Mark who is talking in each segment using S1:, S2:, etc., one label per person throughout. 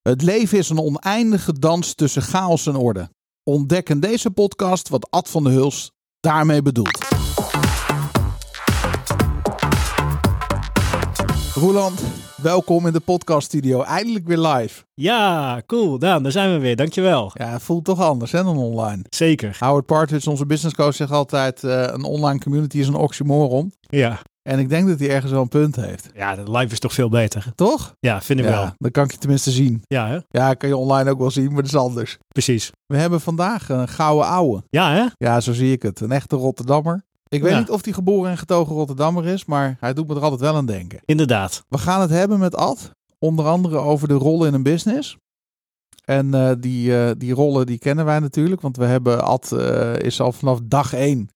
S1: Het leven is een oneindige dans tussen chaos en orde. Ontdek in deze podcast wat Ad van de Huls daarmee bedoelt. Roland, welkom in de podcaststudio. Eindelijk weer live.
S2: Ja, cool. Daan, daar zijn we weer. Dankjewel.
S1: Ja, het voelt toch anders hè, dan online.
S2: Zeker.
S1: Howard Partridge, onze business coach, zegt altijd: eh, een online community is een oxymoron.
S2: Ja.
S1: En ik denk dat hij ergens wel een punt heeft.
S2: ja, dat live is toch veel beter.
S1: Toch?
S2: Ja, vind ik wel.
S1: Ja, dan kan ik je tenminste zien.
S2: Ja, hè?
S1: Ja, kan je online ook wel zien, maar dat is anders.
S2: precies.
S1: We hebben vandaag een gouden ouwe.
S2: Ja, hè?
S1: Ja, zo zie ik het. Een echte Rotterdammer. Ik weet
S2: Ja.
S1: niet of hij geboren en getogen Rotterdammer is, maar hij doet me er altijd wel aan denken.
S2: Inderdaad.
S1: We gaan het hebben met Ad, onder andere over de rollen in een business. En eh, die, eh, die rollen die kennen wij natuurlijk, want we hebben Ad eh, is al vanaf dag één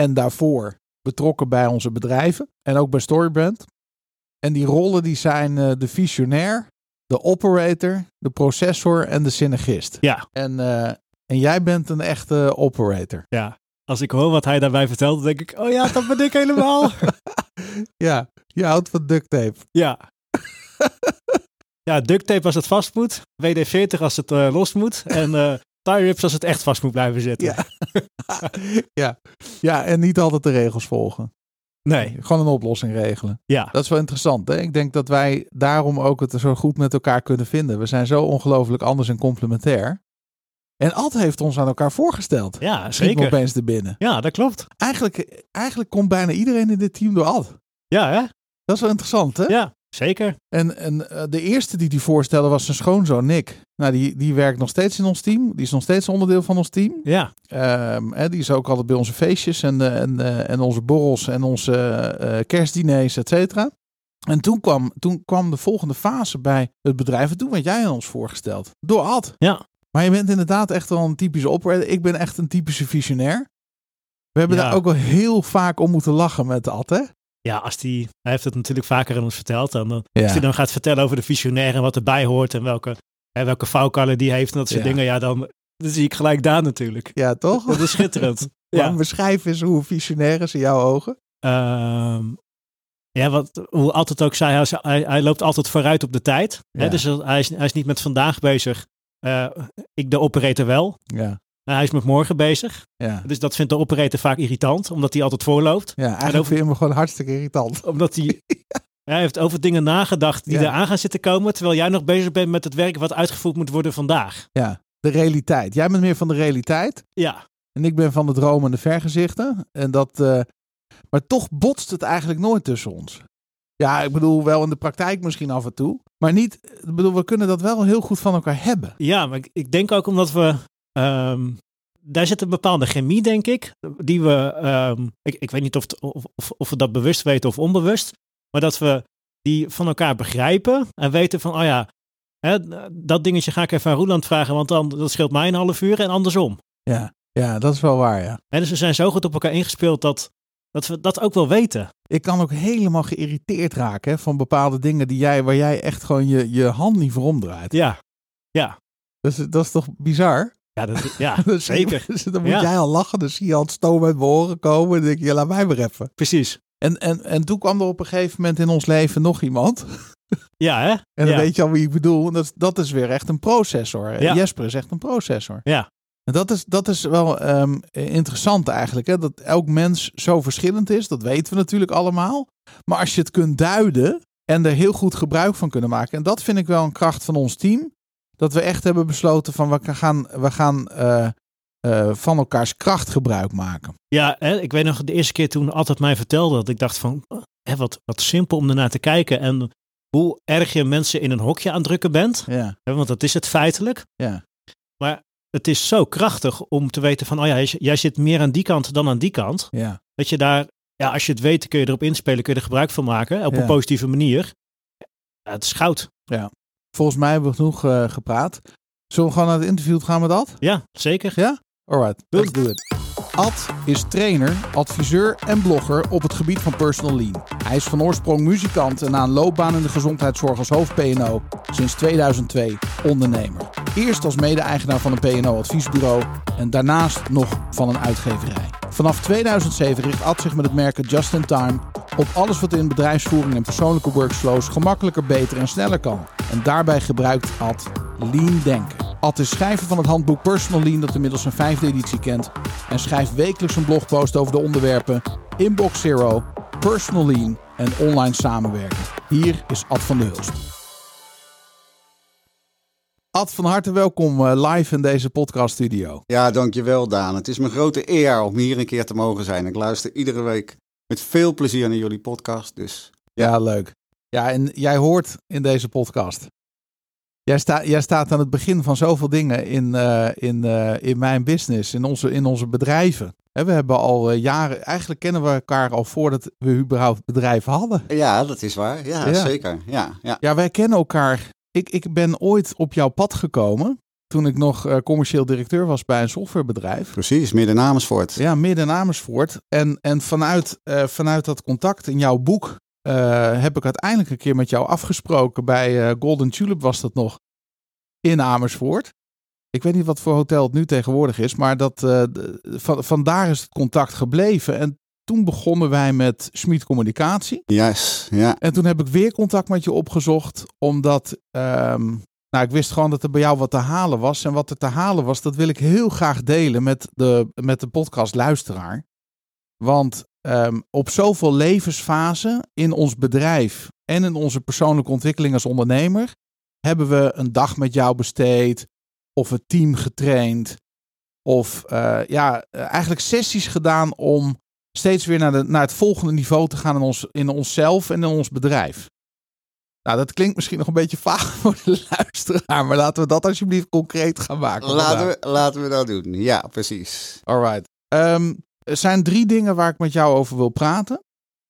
S1: en daarvoor betrokken bij onze bedrijven en ook bij Storybrand. En die rollen die zijn eh, de visionair, de operator, de processor en de synergist.
S2: Ja.
S1: En, eh, en jij bent een echte operator.
S2: Ja. Als ik hoor wat hij daarbij vertelt, dan denk ik, oh ja, dat ben ik helemaal.
S1: Ja, je houdt van duct tape.
S2: ja. Ja, duct tape als het vast moet. WD-40 als het eh, los moet. En eh tie rips als het echt vast moet blijven zitten.
S1: Ja. ja. ja, en niet altijd de regels volgen.
S2: Nee.
S1: Gewoon een oplossing regelen.
S2: Ja.
S1: Dat is wel interessant. Hè? Ik denk dat wij daarom ook het zo goed met elkaar kunnen vinden. We zijn zo ongelooflijk anders en complementair. En Ad heeft ons aan elkaar voorgesteld.
S2: Ja,
S1: Schiet me
S2: zeker.
S1: opeens er binnen.
S2: Ja, dat klopt.
S1: Eigenlijk, eigenlijk komt bijna iedereen in dit team door Ad.
S2: Ja, hè?
S1: Dat is wel interessant, hè?
S2: Ja, zeker.
S1: En, en eh, de eerste die die voorstelde was zijn schoonzoon Nick. Nou, die, die werkt nog steeds in ons team. Die is nog steeds onderdeel van ons team.
S2: Ja.
S1: Ehm, hè, die is ook altijd bij onze feestjes en, eh, en, eh, en onze borrels en onze eh, eh, kerstdiners, et cetera. En toen kwam, toen kwam de volgende fase bij het bedrijf. En toen werd jij aan ons voorgesteld. Door Ad.
S2: Ja.
S1: Maar je bent inderdaad echt wel een typische operator. Ik ben echt een typische visionair. We hebben
S2: Ja.
S1: daar ook wel heel vaak om moeten lachen met Ad, hè?
S2: Ja, als die, hij heeft het natuurlijk vaker aan ons verteld. En dan
S1: Ja.
S2: Als hij dan gaat vertellen over de visionair en wat erbij hoort en welke, hè, welke vouwkallen die heeft en dat soort
S1: Ja.
S2: dingen, ja, dan, dan zie ik gelijk daar natuurlijk.
S1: Ja, toch?
S2: Dat is schitterend.
S1: Ja.
S2: ja.
S1: Maar beschrijf eens hoe visionair is in jouw ogen.
S2: Ehm, ja, wat, hoe altijd ook zei, hij, is- hij, hij loopt altijd vooruit op de tijd.
S1: Ja.
S2: Hè, dus hij is, hij is niet met vandaag bezig. Eh, ik, de operator, wel.
S1: Ja.
S2: Maar hij is met morgen bezig.
S1: Ja.
S2: Dus dat vindt de operator vaak irritant, omdat hij altijd voorloopt.
S1: Ja,
S2: En
S1: eigenlijk
S2: over-
S1: vind je me gewoon hartstikke irritant.
S2: Omdat hij. Hij heeft over dingen nagedacht die
S1: Ja.
S2: er aan gaan zitten komen, terwijl jij nog bezig bent met het werk wat uitgevoerd moet worden vandaag.
S1: De realiteit. Jij bent meer van de realiteit.
S2: Ja,
S1: En ik ben van de droom en de vergezichten. En dat, eh, maar toch botst het eigenlijk nooit tussen ons. Ja, ik bedoel, wel in de praktijk misschien af en toe. Maar niet, ik bedoel, we kunnen dat wel heel goed van elkaar hebben.
S2: Ja, maar ik, ik denk ook omdat we. ehm, daar zit een bepaalde chemie, denk ik. Die we. ehm, ik, ik weet niet of, het- of, of- of we dat bewust weten of onbewust. Maar dat we die van elkaar begrijpen. En weten van, oh ja. Hè, dat dingetje ga ik even aan Roeland vragen. Want dan, dat scheelt mij een half uur. En andersom.
S1: Ja, ja dat is wel waar, ja.
S2: Hè, dus we zijn zo goed op elkaar ingespeeld. Dat, dat we dat ook wel weten.
S1: Ik kan ook helemaal geïrriteerd raken hè, van bepaalde dingen die jij, waar jij echt gewoon je, je hand niet voor omdraait.
S2: Ja,
S1: Dat, is, dat is toch bizar?
S2: ja, dat, ja
S1: Dat is-
S2: zeker.
S1: dan moet
S2: Ja.
S1: jij al lachen, dan zie je al het stoom uit mijn oren komen. Dan denk je, ja, laat mij maar even.
S2: Precies.
S1: En, en, en toen kwam er op een gegeven moment in ons leven nog iemand.
S2: Ja, hè?
S1: En dan
S2: Ja.
S1: weet je al wie ik bedoel. En dat, is- dat is weer echt een processor.
S2: Ja.
S1: Jesper is echt een processor.
S2: Ja.
S1: En dat is, dat is wel ehm, interessant eigenlijk. Hè? Dat elk mens zo verschillend is. Dat weten we natuurlijk allemaal. Maar als je het kunt duiden en er heel goed gebruik van kunnen maken. En dat vind ik wel een kracht van ons team. Dat we echt hebben besloten van we gaan, we gaan eh, eh, van elkaars kracht gebruik maken.
S2: Ja, hè, ik weet nog de eerste keer toen altijd mij vertelde dat ik dacht van, hè, wat, wat simpel om ernaar te kijken en hoe erg je mensen in een hokje aan het drukken bent,
S1: Ja,
S2: hè, want dat is het feitelijk.
S1: Ja.
S2: Maar het is zo krachtig om te weten van, oh ja, jij- jij zit meer aan die kant dan aan die kant.
S1: ja,
S2: Dat je daar, ja, als je het weet, kun je erop inspelen, kun je er gebruik van maken op
S1: Ja.
S2: een positieve manier. Ja, het is goud.
S1: volgens mij hebben we genoeg eh, gepraat. Zullen we gewoon naar het interview gaan met dat?
S2: Ja, zeker.
S1: Alright, let's do it. Ad is trainer, adviseur en blogger op het gebied van personal lean. Hij is van oorsprong muzikant en na een loopbaan in de gezondheidszorg als hoofd PNO sinds 2002 ondernemer. Eerst als mede-eigenaar van een PNO-adviesbureau en daarnaast nog van een uitgeverij. Vanaf 2007 richt Ad zich met het merk Just in Time Op alles wat in bedrijfsvoering en persoonlijke workflows gemakkelijker, beter en sneller kan. En daarbij gebruikt Ad Lean Denken. Ad is schrijver van het handboek Personal Lean dat inmiddels zijn vijfde editie kent. En schrijft wekelijks een blogpost over de onderwerpen Inbox Zero, Personal Lean en online samenwerken. Hier is Ad van de Hulst. Ad, van harte welkom eh, live in deze podcaststudio.
S3: Ja, dankjewel Daan. Het is mijn grote eer om hier een keer te mogen zijn. Ik luister iedere week met veel plezier naar jullie podcast. Dus
S1: Ja, leuk. Ja, en jij hoort in deze podcast. Jij, sta, jij staat aan het begin van zoveel dingen in, eh, in, eh, in mijn business, in onze, in onze bedrijven. Hè, we hebben al eh, jaren, eigenlijk kennen we elkaar al voordat we überhaupt bedrijven hadden.
S3: ja, dat is waar. Ja,
S1: Ja.
S3: zeker. Ja, ja.
S1: Ja, wij kennen elkaar. Ik, ik ben ooit op jouw pad gekomen toen ik nog eh, commercieel directeur was bij een softwarebedrijf.
S3: Precies, midden Amersfoort.
S1: Ja, midden in Amersfoort. En, en vanuit, eh, vanuit dat contact in jouw boek eh, heb ik uiteindelijk een keer met jou afgesproken. Bij eh, Golden Tulip was dat nog in Amersfoort. Ik weet niet wat voor hotel het nu tegenwoordig is, maar dat, eh, de- van, vandaar is het contact gebleven. En toen begonnen wij met Schmid Communicatie.
S3: Yes, ja.
S1: En toen heb ik weer contact met je opgezocht, omdat ehm, nou, ik wist gewoon dat er bij jou wat te halen was. En wat er te halen was, dat wil ik heel graag delen met de, met de podcastluisteraar. Want ehm, op zoveel levensfasen in ons bedrijf en in onze persoonlijke ontwikkeling als ondernemer, hebben we een dag met jou besteed of het team getraind. Of eh, ja, eh, eigenlijk sessies gedaan om steeds weer naar, de, naar het volgende niveau te gaan in, ons, in onszelf en in ons bedrijf. Nou, dat klinkt misschien nog een beetje vaag voor de luisteraar, maar laten we dat alsjeblieft concreet gaan maken.
S3: Laten we, laten we dat doen. Ja, precies.
S1: All right. Ehm, er zijn drie dingen waar ik met jou over wil praten.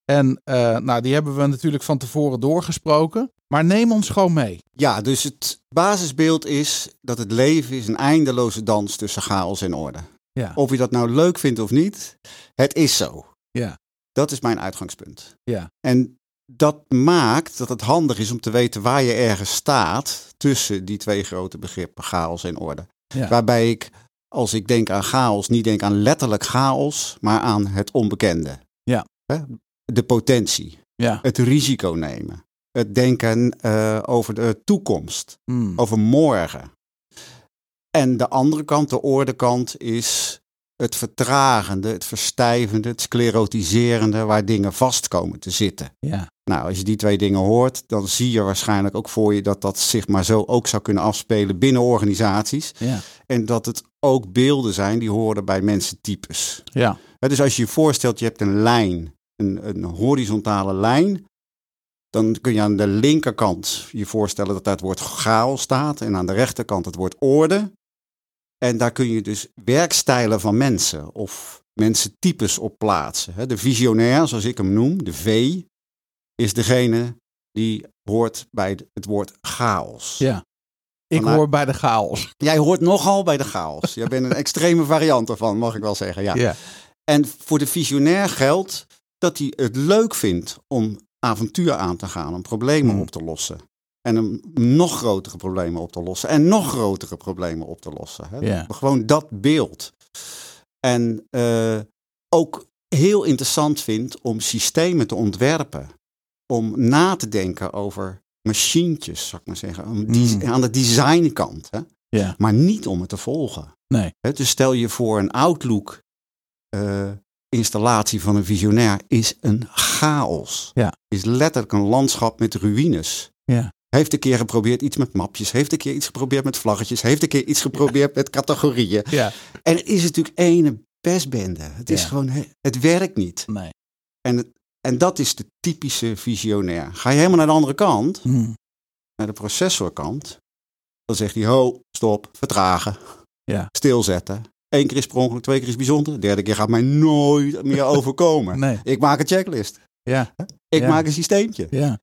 S1: En eh, nou, die hebben we natuurlijk van tevoren doorgesproken. Maar neem ons gewoon mee.
S3: Ja, dus het basisbeeld is dat het leven is een eindeloze dans tussen chaos en orde.
S1: Ja.
S3: Of je dat nou leuk vindt of niet, het is zo.
S1: Ja.
S3: Dat is mijn uitgangspunt.
S1: Ja.
S3: En dat maakt dat het handig is om te weten waar je ergens staat tussen die twee grote begrippen, chaos en orde.
S1: Ja.
S3: Waarbij ik, als ik denk aan chaos, niet denk aan letterlijk chaos, maar aan het onbekende.
S1: Ja.
S3: Hè? De potentie,
S1: Ja.
S3: het risico nemen, het denken eh, over de toekomst
S1: Hmm.
S3: over morgen. En de andere kant, de oordekant, is het vertragende, het verstijvende, het sclerotiserende, waar dingen vast komen te zitten.
S1: Ja.
S3: Nou, als je die twee dingen hoort, dan zie je waarschijnlijk ook voor je dat dat zich maar zo ook zou kunnen afspelen binnen organisaties.
S1: Ja.
S3: En dat het ook beelden zijn die horen bij mensentypes.
S1: Ja.
S3: Hè, Dus als je je voorstelt, je hebt een lijn, een, een horizontale lijn, dan kun je aan de linkerkant je voorstellen dat daar het woord chaos staat en aan de rechterkant het woord orde. En daar kun je dus werkstijlen van mensen of mensentypes op plaatsen. hè. De visionair, zoals ik hem noem, de V, is degene die hoort bij het woord chaos.
S1: Ja. Ik
S3: Vanuit-
S1: hoor bij de chaos.
S3: Jij hoort nogal bij de chaos. Jij bent een extreme variant ervan, mag ik wel zeggen. Ja.
S1: Ja.
S3: En voor de visionair geldt dat hij het leuk vindt om avontuur aan te gaan, om problemen
S1: Hmm.
S3: op te lossen. En om nog grotere problemen op te lossen. En nog grotere problemen op te lossen. Hè?
S1: Ja.
S3: Gewoon dat beeld. En eh, ook heel interessant vindt om systemen te ontwerpen. Om na te denken over machientjes, zou ik maar zeggen. Om die,
S1: Hmm.
S3: Aan de designkant. Hè?
S1: Ja.
S3: Maar niet om het te volgen.
S1: Nee.
S3: Hè, dus stel je voor een Outlook eh, installatie van een visionair is een chaos.
S1: Ja.
S3: Is letterlijk een landschap met ruïnes.
S1: Ja.
S3: Heeft een keer geprobeerd iets met mapjes, heeft een keer iets geprobeerd met vlaggetjes, heeft een keer iets geprobeerd met categorieën.
S1: Ja.
S3: En er is natuurlijk ene pestbende. Het is
S1: Ja.
S3: gewoon, he- het werkt niet.
S1: Nee.
S3: En, het- en dat is de typische visionair. Ga je helemaal naar de andere kant,
S1: Hmm.
S3: naar de processorkant, dan zegt hij: ho, stop, vertragen,
S1: Ja.
S3: stilzetten. Eén keer is per ongeluk, twee keer is bijzonder. Derde keer gaat mij nooit meer overkomen.
S1: Nee.
S3: Ik maak een checklist.
S1: Ja.
S3: Ik
S1: Ja.
S3: maak een systeemtje.
S1: Ja.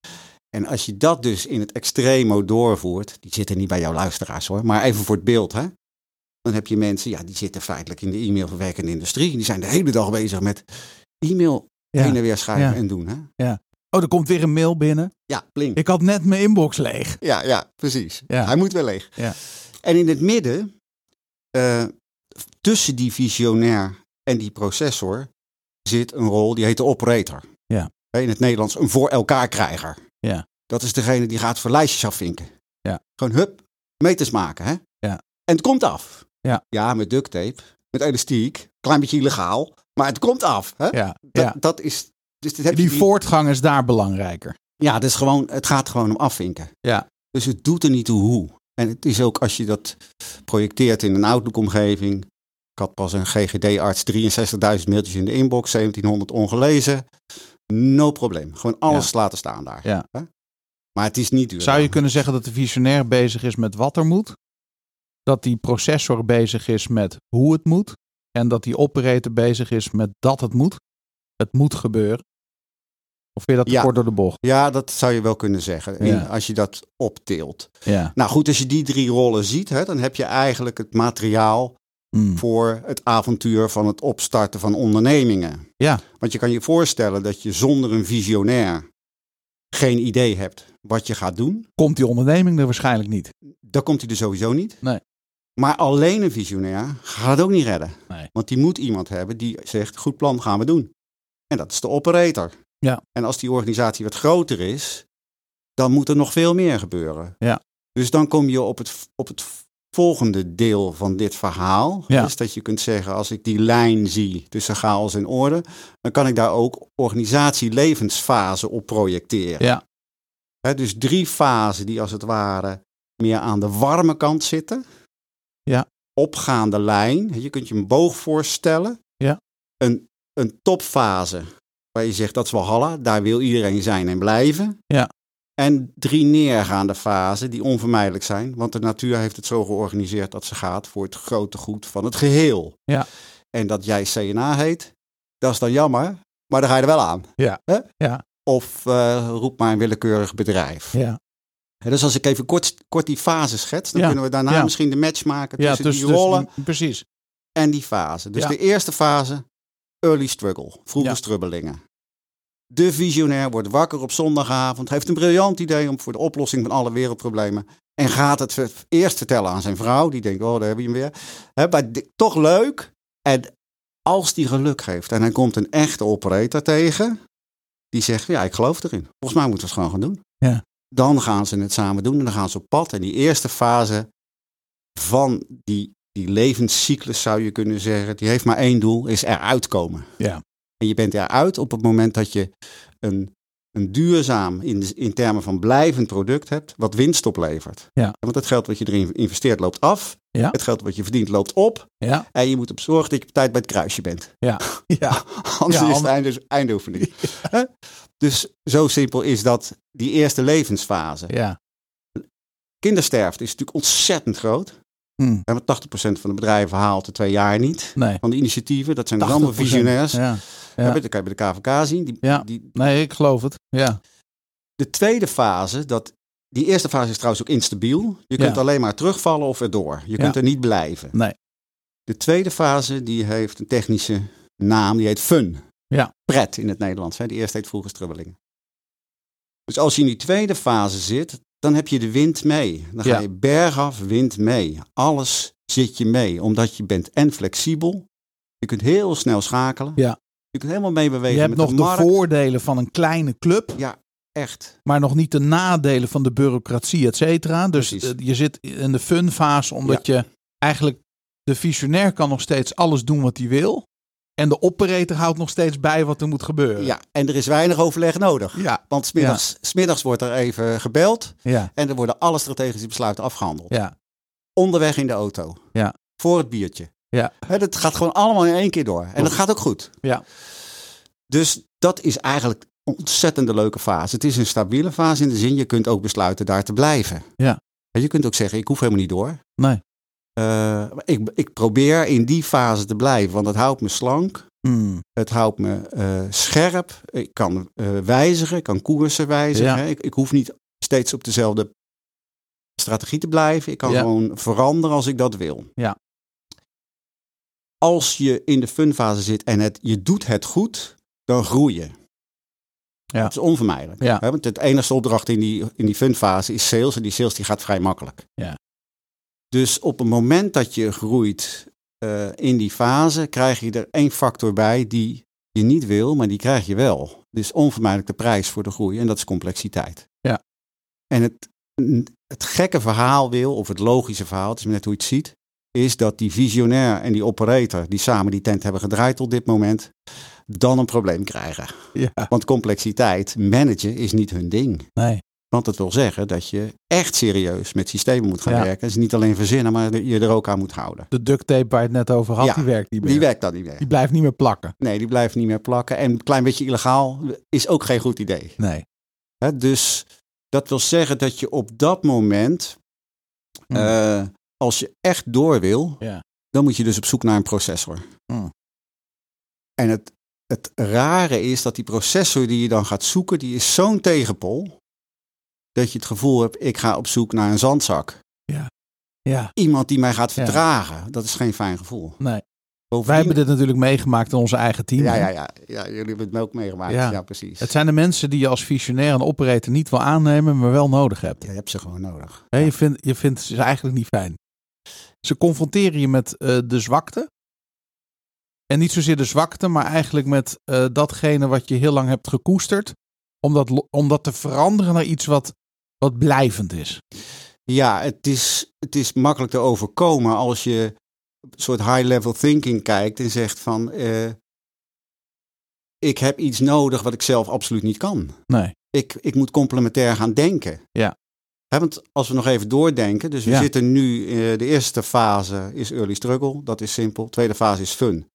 S3: En als je dat dus in het extremo doorvoert, die zitten niet bij jouw luisteraars hoor, maar even voor het beeld hè. Dan heb je mensen, ja, die zitten feitelijk in de e-mailverwerkende industrie. Die zijn de hele dag bezig met e-mail
S1: Ja.
S3: heen en weer schrijven
S1: Ja.
S3: en doen hè.
S1: Oh, er komt weer een mail binnen.
S3: Ja, blink.
S1: Ik had net mijn inbox leeg.
S3: Ja, ja, precies.
S1: Ja.
S3: Hij moet wel leeg.
S1: Ja.
S3: En in het midden, eh, tussen die visionair en die processor, zit een rol die heet de operator.
S1: Ja.
S3: hè, in het Nederlands, een voor elkaar krijger.
S1: Ja.
S3: Dat is degene die gaat voor lijstjes afvinken.
S1: Ja.
S3: Gewoon hup, meters maken. Hè?
S1: Ja.
S3: En het komt af.
S1: Ja.
S3: ja, met duct tape, met elastiek, klein beetje illegaal, maar het komt af. Hè?
S1: Ja,
S3: Dat,
S1: ja.
S3: dat is. Dus dit heb je
S1: Die voortgang is daar belangrijker.
S3: Ja, het, is gewoon, het gaat gewoon om afvinken.
S1: Ja.
S3: Dus het doet er niet toe hoe. En het is ook als je dat projecteert in een Outlook-omgeving. Ik had pas een GGD-arts, 63.000 mailtjes in de inbox, 1700 ongelezen. No probleem. Gewoon alles laten staan daar.
S1: Ja.
S3: Hè? Maar het is niet duur.
S1: Zou je kunnen zeggen dat de visionair bezig is met wat er moet? Dat die processor bezig is met hoe het moet? En dat die operator bezig is met dat het moet? Het moet gebeuren. Of vind je dat te
S3: Ja.
S1: kort door de bocht?
S3: Ja, dat zou je wel kunnen zeggen. in-
S1: Ja.
S3: Als je dat opteelt.
S1: Ja.
S3: Nou goed, als je die drie rollen ziet, hè, dan heb je eigenlijk het materiaal
S1: Hmm.
S3: voor het avontuur van het opstarten van ondernemingen.
S1: Ja.
S3: Want je kan je voorstellen dat je zonder een visionair geen idee hebt wat je gaat doen.
S1: Komt die onderneming er waarschijnlijk niet?
S3: Dan komt hij er sowieso niet.
S1: Nee.
S3: Maar alleen een visionair gaat het ook niet redden.
S1: Nee.
S3: Want die moet iemand hebben die zegt, goed plan, gaan we doen. En dat is de operator.
S1: Ja.
S3: En als die organisatie wat groter is, dan moet er nog veel meer gebeuren.
S1: Ja.
S3: Dus dan kom je op het, op het volgende deel van dit verhaal.
S1: Ja.
S3: Is dat je kunt zeggen, als ik die lijn zie tussen chaos en orde, dan kan ik daar ook organisatielevensfase op projecteren.
S1: Ja.
S3: Hè, dus drie fasen die als het ware meer aan de warme kant zitten.
S1: Ja.
S3: Opgaande lijn. Je kunt je een boog voorstellen.
S1: Ja.
S3: Een, een topfase waar je zegt dat is wel halla, daar wil iedereen zijn en blijven.
S1: Ja.
S3: En drie neergaande fasen die onvermijdelijk zijn, want de natuur heeft het zo georganiseerd dat ze gaat voor het grote goed van het geheel.
S1: Ja.
S3: En dat jij CNA heet, dat is dan jammer, maar dan ga je er wel aan.
S1: Ja.
S3: Hè?
S1: Ja.
S3: Of eh, roep maar een willekeurig bedrijf.
S1: Ja,
S3: Hè, Dus als ik even kort, kort die fase schets, dan
S1: Ja.
S3: kunnen we daarna
S1: Ja.
S3: misschien de match maken
S1: ja
S3: tussen,
S1: dus,
S3: die rollen
S1: dus die- precies.
S3: en die fase. Dus
S1: Ja.
S3: de eerste fase, early struggle, vroege
S1: Ja.
S3: strubbelingen. De visionair wordt wakker op zondagavond, heeft een briljant idee om voor de oplossing van alle wereldproblemen. En gaat het ver- eerst vertellen aan zijn vrouw, die denkt, oh, daar heb je hem weer. Hè, maar di- toch leuk. En als die geluk heeft en hij komt een echte operator tegen, die zegt, ja, ik geloof erin. Volgens mij moeten we het gewoon gaan doen.
S1: Ja.
S3: Dan gaan ze het samen doen en dan gaan ze op pad. En die eerste fase van die die levenscyclus zou je kunnen zeggen, die heeft maar één doel, is eruit komen.
S1: Ja.
S3: En je bent eruit op het moment dat je een, een duurzaam, in, in termen van blijvend product hebt, wat winst oplevert.
S1: Ja.
S3: Want het geld wat je erin investeert loopt af,
S1: Ja.
S3: het geld wat je verdient loopt op,
S1: Ja,
S3: en je moet op zorgen dat je op tijd bij het kruisje bent.
S1: ja,
S3: Anders
S1: Ja,
S3: is het
S1: ander-
S3: einde, eindoefening. Hè? Dus zo simpel is dat die eerste levensfase.
S1: ja.
S3: Kindersterfte is natuurlijk ontzettend groot.
S1: Hm,
S3: Hè, Want 80% van de bedrijven haalt de twee jaar niet
S1: Nee.
S3: van de initiatieven. Dat zijn dus allemaal
S1: 80%,
S3: visionairs.
S1: Ja. ja.
S3: Ja, Dat kan je bij de KVK zien. Die,
S1: Ja.
S3: die,
S1: Nee, ik geloof het. Ja,
S3: de tweede fase, dat, die eerste fase is trouwens ook instabiel. Je
S1: Ja.
S3: kunt alleen maar terugvallen of erdoor. Je kunt er niet blijven.
S1: Nee.
S3: De tweede fase, die heeft een technische naam. Die heet fun.
S1: Ja.
S3: Pret in het Nederlands. Hè. Die eerste heet vroeger strubbelingen. Dus als je in die tweede fase zit, dan heb je de wind mee. Dan ga
S1: Ja.
S3: je bergaf, wind mee. Alles zit je mee, omdat je bent en flexibel. Je kunt heel snel schakelen.
S1: Ja.
S3: Je kunt helemaal mee bewegen
S1: je hebt
S3: met
S1: nog
S3: de
S1: de
S3: markt.
S1: voordelen van een kleine club.
S3: Echt.
S1: maar nog niet de nadelen van de bureaucratie, et cetera. Dus
S3: Precies.
S1: eh, je zit in de fun fase, omdat je eigenlijk de visionair kan nog steeds alles doen wat hij wil. En de operator houdt nog steeds bij wat er moet gebeuren.
S3: Ja, en er is weinig overleg nodig.
S1: Eh. ja,
S3: Want smiddags, smiddags wordt er even gebeld
S1: ja.
S3: en er worden alle strategische besluiten afgehandeld.
S1: ja.
S3: Onderweg in de auto.
S1: Ja.
S3: Voor het biertje.
S1: Ja.
S3: Hè, dat gaat gewoon allemaal in één keer door. En dat gaat ook goed.
S1: Ja.
S3: Dus dat is eigenlijk een ontzettende leuke fase. Het is een stabiele fase in de zin, je kunt ook besluiten daar te blijven.
S1: Ja.
S3: En je kunt ook zeggen, ik hoef helemaal niet door.
S1: Nee.
S3: Eh, maar ik, ik probeer in die fase te blijven, want dat houdt me slank.
S1: Hmm,
S3: Het houdt me eh, scherp. Ik kan eh, wijzigen, ik kan koersen wijzigen.
S1: Ja.
S3: hè. Ik, ik hoef niet steeds op dezelfde strategie te blijven. Ik kan
S1: Ja.
S3: gewoon veranderen als ik dat wil.
S1: Ja.
S3: Als je in de funfase zit en het, je doet het goed, dan groei je.
S1: Ja.
S3: Dat is onvermijdelijk.
S1: Ja.
S3: hè, want het enige opdracht in die, in die funfase is sales. En die sales die gaat vrij makkelijk.
S1: Ja.
S3: Dus op het moment dat je groeit eh, in die fase, krijg je er één factor bij die je niet wil, maar die krijg je wel. Dus onvermijdelijk de prijs voor de groei en dat is complexiteit.
S1: Ja.
S3: En het, het gekke verhaal wil, of het logische verhaal, het is maar net hoe je het ziet, is dat die visionair en die operator, die samen die tent hebben gedraaid tot dit moment, dan een probleem krijgen.
S1: Ja.
S3: Want complexiteit, managen, is niet hun ding.
S1: Nee.
S3: Want dat wil zeggen dat je echt serieus met systemen moet gaan
S1: Ja.
S3: werken. Dus niet alleen verzinnen, maar je er ook aan moet houden.
S1: De duct tape waar je het net over had,
S3: Ja,
S1: die werkt niet meer.
S3: Die werkt dan niet meer.
S1: Die blijft niet meer plakken.
S3: Nee, die blijft niet meer plakken. En een klein beetje illegaal is ook geen goed idee.
S1: Nee.
S3: Hè, dus dat wil zeggen dat je op dat moment,
S1: Hmm.
S3: eh, als je echt door wil,
S1: Ja.
S3: dan moet je dus op zoek naar een processor.
S1: Hmm.
S3: En het, het rare is dat die processor die je dan gaat zoeken, die is zo'n tegenpol, dat je het gevoel hebt, ik ga op zoek naar een zandzak.
S1: Ja.
S3: Iemand die mij gaat
S1: Ja.
S3: vertragen, dat is geen fijn gevoel.
S1: Nee. Wij
S3: Bovendien-
S1: hebben dit natuurlijk meegemaakt in onze eigen team.
S3: ja,
S1: hè?
S3: ja, ja, ja, jullie hebben het ook meegemaakt.
S1: Ja.
S3: Ja, precies.
S1: Het zijn de mensen die je als visionair en operator niet wil aannemen, maar wel nodig hebt.
S3: Ja, je hebt ze gewoon nodig.
S1: Hè, je, vindt, je vindt ze eigenlijk niet fijn. Ze confronteren je met eh, de zwakte. En niet zozeer de zwakte, maar eigenlijk met eh, datgene wat je heel lang hebt gekoesterd. Om dat, lo- om dat te veranderen naar iets wat, wat blijvend is.
S3: Ja, het is, het is makkelijk te overkomen als je een soort high-level thinking kijkt en zegt van... eh, ik heb iets nodig wat ik zelf absoluut niet kan.
S1: Nee.
S3: Ik, ik moet complementair gaan denken.
S1: Ja.
S3: Hè, want als we nog even doordenken, dus we
S1: Ja.
S3: zitten nu, eh, de eerste fase is early struggle, dat is simpel. Tweede fase is fun.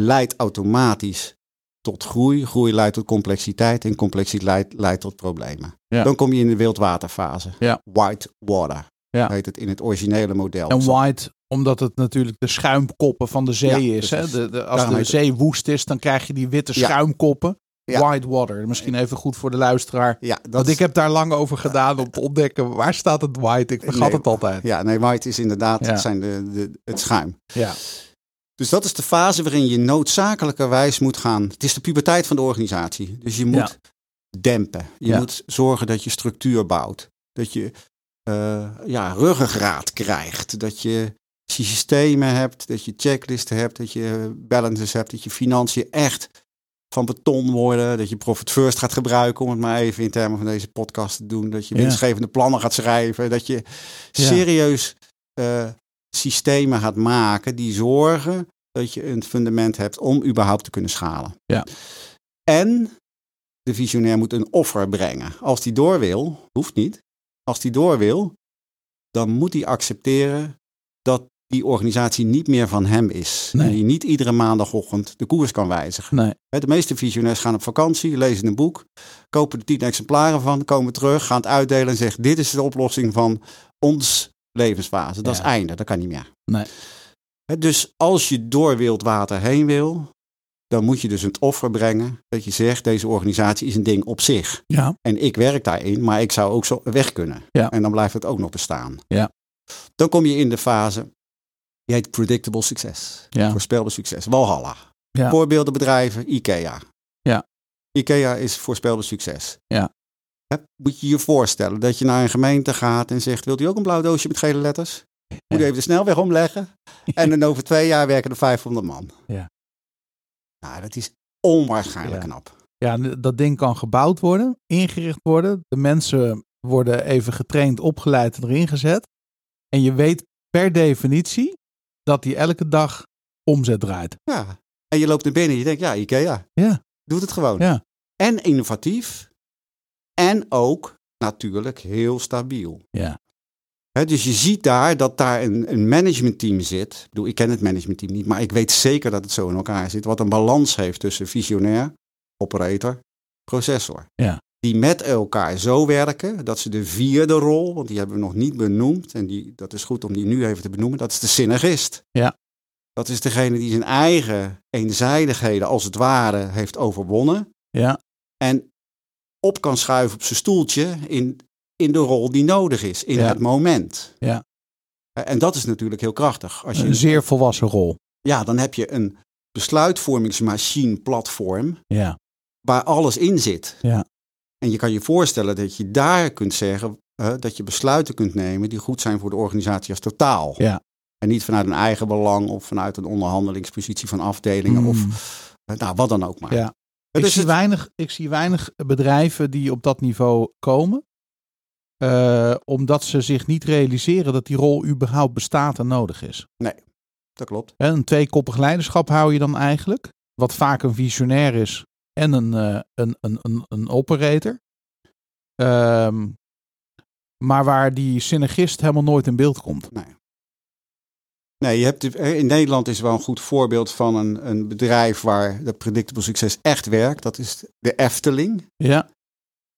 S3: Leidt automatisch tot groei, groei leidt tot complexiteit en complexiteit leidt, leidt tot problemen.
S1: Ja.
S3: Dan kom je in de wildwaterfase.
S1: Ja.
S3: White water
S1: Ja.
S3: heet het in het originele model.
S1: En white, omdat het natuurlijk de schuimkoppen van de zee
S3: Ja,
S1: is. Hè?
S3: precies.
S1: De, de, als
S3: Daarom
S1: de
S3: heet het-
S1: zee woest is, dan krijg je die witte
S3: Ja.
S1: schuimkoppen.
S3: Ja.
S1: White water. Misschien even goed voor de luisteraar.
S3: ja, dat
S1: Want
S3: is-
S1: ik heb daar lang over gedaan om te ontdekken waar staat het white. Ik vergat
S3: Nee.
S1: het altijd.
S3: Ja, nee, white is inderdaad
S1: Ja.
S3: het, zijn de, de, het schuim.
S1: Ja.
S3: Dus dat is de fase waarin je noodzakelijkerwijs moet gaan. Het is de puberteit van de organisatie. Dus je moet dempen. Je
S1: Ja.
S3: moet zorgen dat je structuur bouwt. Dat je eh, ja, ruggengraat krijgt. Dat je systemen hebt. Dat je checklisten hebt. Dat je balances hebt. Dat je financiën echt van beton worden. Dat je profit first gaat gebruiken. Om het maar even in termen van deze podcast te doen. Dat je
S1: Ja.
S3: winstgevende plannen gaat schrijven. Dat je serieus eh, systemen gaat maken die zorgen dat je een fundament hebt om überhaupt te kunnen schalen.
S1: Ja.
S3: En de visionair moet een offer brengen. Als die door wil, hoeft niet. Als die door wil, dan moet hij accepteren dat die organisatie niet meer van hem is.
S1: Nee.
S3: En die niet iedere maandagochtend de koers kan wijzigen.
S1: Nee.
S3: Hè, De meeste visionairs gaan op vakantie, lezen een boek, kopen er tien exemplaren van, komen terug, gaan het uitdelen en zeggen: Dit is de oplossing van ons levensfase. Dat
S1: Ja.
S3: is einde, dat kan niet meer.
S1: Nee.
S3: Hè, Dus als je door wild water heen wil, dan moet je dus het offer brengen dat je zegt: Deze organisatie is een ding op zich.
S1: Ja.
S3: En ik werk daarin, maar ik zou ook zo weg kunnen.
S1: Ja.
S3: En dan blijft het ook nog bestaan.
S1: Ja.
S3: Dan kom je in de fase, die heet predictable succes.
S1: Ja.
S3: Voorspelbaar succes. Walhalla.
S1: Ja.
S3: Voorbeeldenbedrijven, IKEA.
S1: Ja.
S3: IKEA is voorspelbaar succes.
S1: Ja.
S3: Hè, moet je je voorstellen dat je naar een gemeente gaat en zegt, wilt u ook een blauw doosje met gele letters? Moet u even de snelweg omleggen? En dan over twee jaar werken er 500 man.
S1: Ja.
S3: Nou, dat is onwaarschijnlijk
S1: Ja.
S3: knap.
S1: Ja, en dat ding kan gebouwd worden, ingericht worden. De mensen worden even getraind, opgeleid en erin gezet. En je weet per definitie dat die elke dag omzet draait.
S3: Ja. En je loopt naar binnen en je denkt, ja, IKEA.
S1: Ja.
S3: Doet het gewoon.
S1: Ja.
S3: En innovatief. En ook natuurlijk heel stabiel.
S1: Ja.
S3: Hè, dus je ziet daar dat daar een, een managementteam zit. Ik, bedoel, ik ken het managementteam niet, maar ik weet zeker dat het zo in elkaar zit. Wat een balans heeft tussen visionair, operator, processor.
S1: Ja.
S3: Die met elkaar zo werken dat ze de vierde rol, want die hebben we nog niet benoemd. En die, dat is goed om die nu even te benoemen. Dat is de synergist. Dat is degene die zijn eigen eenzijdigheden als het ware heeft overwonnen.
S1: Ja.
S3: En op kan schuiven op zijn stoeltje in, in de rol die nodig is, in
S1: Ja.
S3: het moment.
S1: Ja.
S3: En dat is natuurlijk heel krachtig. Als je,
S1: Een zeer volwassen rol.
S3: Ja, dan heb je een besluitvormingsmachine platform
S1: Ja.
S3: waar alles in zit.
S1: Ja.
S3: En je kan je voorstellen dat je daar kunt zeggen eh, dat je besluiten kunt nemen die goed zijn voor de organisatie als totaal.
S1: Ja.
S3: En niet vanuit een eigen belang of vanuit een onderhandelingspositie van afdelingen of
S1: Mm.
S3: eh, nou, wat dan ook maar.
S1: Ja. Ik
S3: is
S1: zie,
S3: het-
S1: weinig, ik zie weinig bedrijven die op dat niveau komen. eh, omdat ze zich niet realiseren dat die rol überhaupt bestaat en nodig is.
S3: Dat klopt.
S1: Hè, Een tweekoppig leiderschap hou je dan eigenlijk. Wat vaak een visionair is en een, eh, een, een, een, een operator. Ehm, maar waar die synergist helemaal nooit in beeld komt.
S3: Nee, je hebt, in Nederland is wel een goed voorbeeld van een, een bedrijf waar dat predictable succes echt werkt. Dat is de Efteling.
S1: Ja,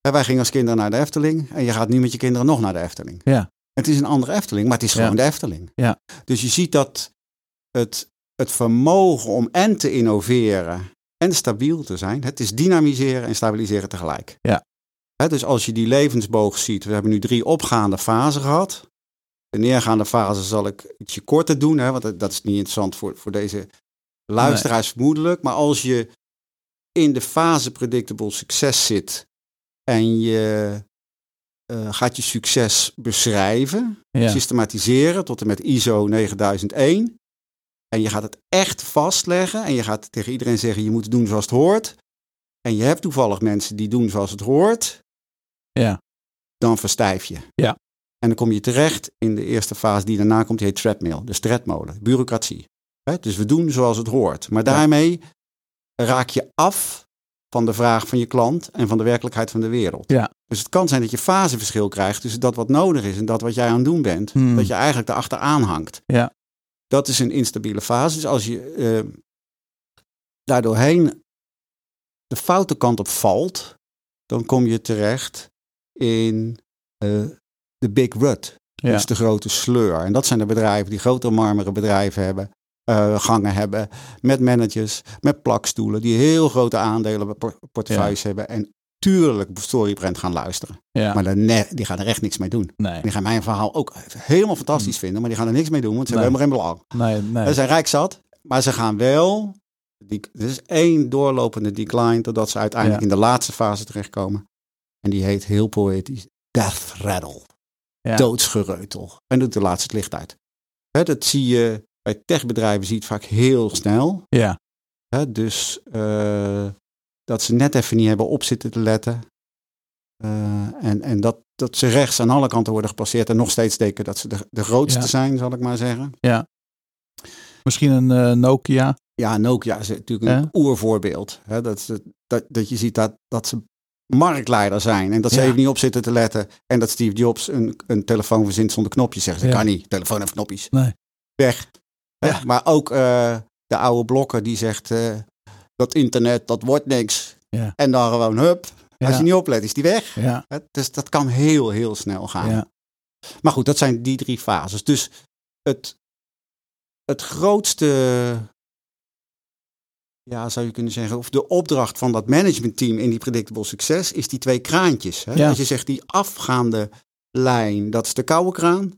S3: En wij gingen als kinderen naar de Efteling. En je gaat nu met je kinderen nog naar de Efteling.
S1: Ja.
S3: Het is een andere Efteling, maar het is
S1: Ja.
S3: gewoon de Efteling.
S1: Ja.
S3: Dus je ziet dat het, het vermogen om en te innoveren en stabiel te zijn. Het is dynamiseren en stabiliseren tegelijk.
S1: Ja.
S3: Hè, dus als je die levensboog ziet. We hebben nu drie opgaande fasen gehad. De neergaande fase zal ik ietsje korter doen. Hè, want dat, dat is niet interessant voor, voor deze luisteraars vermoedelijk. Maar als je in de fase predictable succes zit en je eh, gaat je succes beschrijven,
S1: ja.
S3: systematiseren tot en met ISO 9001. En je gaat het echt vastleggen en je gaat tegen iedereen zeggen je moet het doen zoals het hoort. En je hebt toevallig mensen die doen zoals het hoort.
S1: Ja.
S3: Dan verstijf je.
S1: Ja.
S3: En dan kom je terecht in de eerste fase die daarna komt, die heet treadmill, dus tredmolen, bureaucratie. Hè, dus we doen zoals het hoort. Maar daarmee raak je af van de vraag van je klant en van de werkelijkheid van de wereld.
S1: Ja.
S3: Dus het kan zijn dat je faseverschil krijgt tussen dat wat nodig is en dat wat jij aan het doen bent.
S1: Hmm.
S3: Dat je eigenlijk erachteraan hangt.
S1: Ja.
S3: Dat is een instabiele fase. Dus als je eh, daardoorheen de foute kant op valt, dan kom je terecht in eh, de big rut.
S1: Ja.
S3: Dus de grote sleur. En dat zijn de bedrijven die grote marmeren bedrijven hebben. eh, gangen hebben, met managers, met plakstoelen, die heel grote aandelen por- portefeuilles hebben en tuurlijk storybrand gaan luisteren.
S1: ja.
S3: Maar de ne- die gaan er echt niks mee doen.
S1: nee,
S3: Die gaan mijn verhaal ook helemaal fantastisch vinden, maar die gaan er niks mee doen, want ze
S1: Mm. Nee.
S3: hebben helemaal geen belang.
S1: nee,
S3: Ze
S1: nee.
S3: zijn rijk zat, maar ze gaan wel. Die, er is één doorlopende decline totdat ze uiteindelijk in de laatste fase terechtkomen. En die heet heel poëtisch Death Rattle.
S1: Ja.
S3: Doodsgereutel. En doet de laatste het licht uit. Hè, dat zie je bij techbedrijven zie je het vaak heel snel.
S1: Ja,
S3: Hè, dus eh, dat ze net even niet hebben op zitten te letten. Eh, en en dat, dat ze rechts aan alle kanten worden gepasseerd. En nog steeds denken dat ze de, de grootste
S1: Ja.
S3: zijn, zal ik maar zeggen.
S1: misschien een eh, Nokia.
S3: Ja, Nokia is natuurlijk een
S1: Ja.
S3: oervoorbeeld. Hè? Dat, ze- dat, dat je ziet dat, dat ze marktleider zijn en dat ze
S1: Ja.
S3: even niet op zitten te letten. En dat Steve Jobs een, een telefoon verzint zonder knopjes. Zeggen ze,
S1: Ja.
S3: kan niet, telefoon heeft knopjes.
S1: Nee.
S3: Weg. Hè?
S1: Ja.
S3: Maar ook eh, de oude blokker die zegt, eh, dat internet, dat wordt niks.
S1: Ja.
S3: En dan gewoon, hup, als
S1: Ja.
S3: je niet oplet, is die weg.
S1: Ja,
S3: Hè? Dus dat kan heel, heel snel gaan.
S1: ja,
S3: Maar goed, dat zijn die drie fases. Dus het, het grootste, ja, zou je kunnen zeggen, of de opdracht van dat managementteam in die predictable succes is die twee kraantjes. Hè?
S1: Ja.
S3: Als je zegt die afgaande lijn, dat is de koude kraan.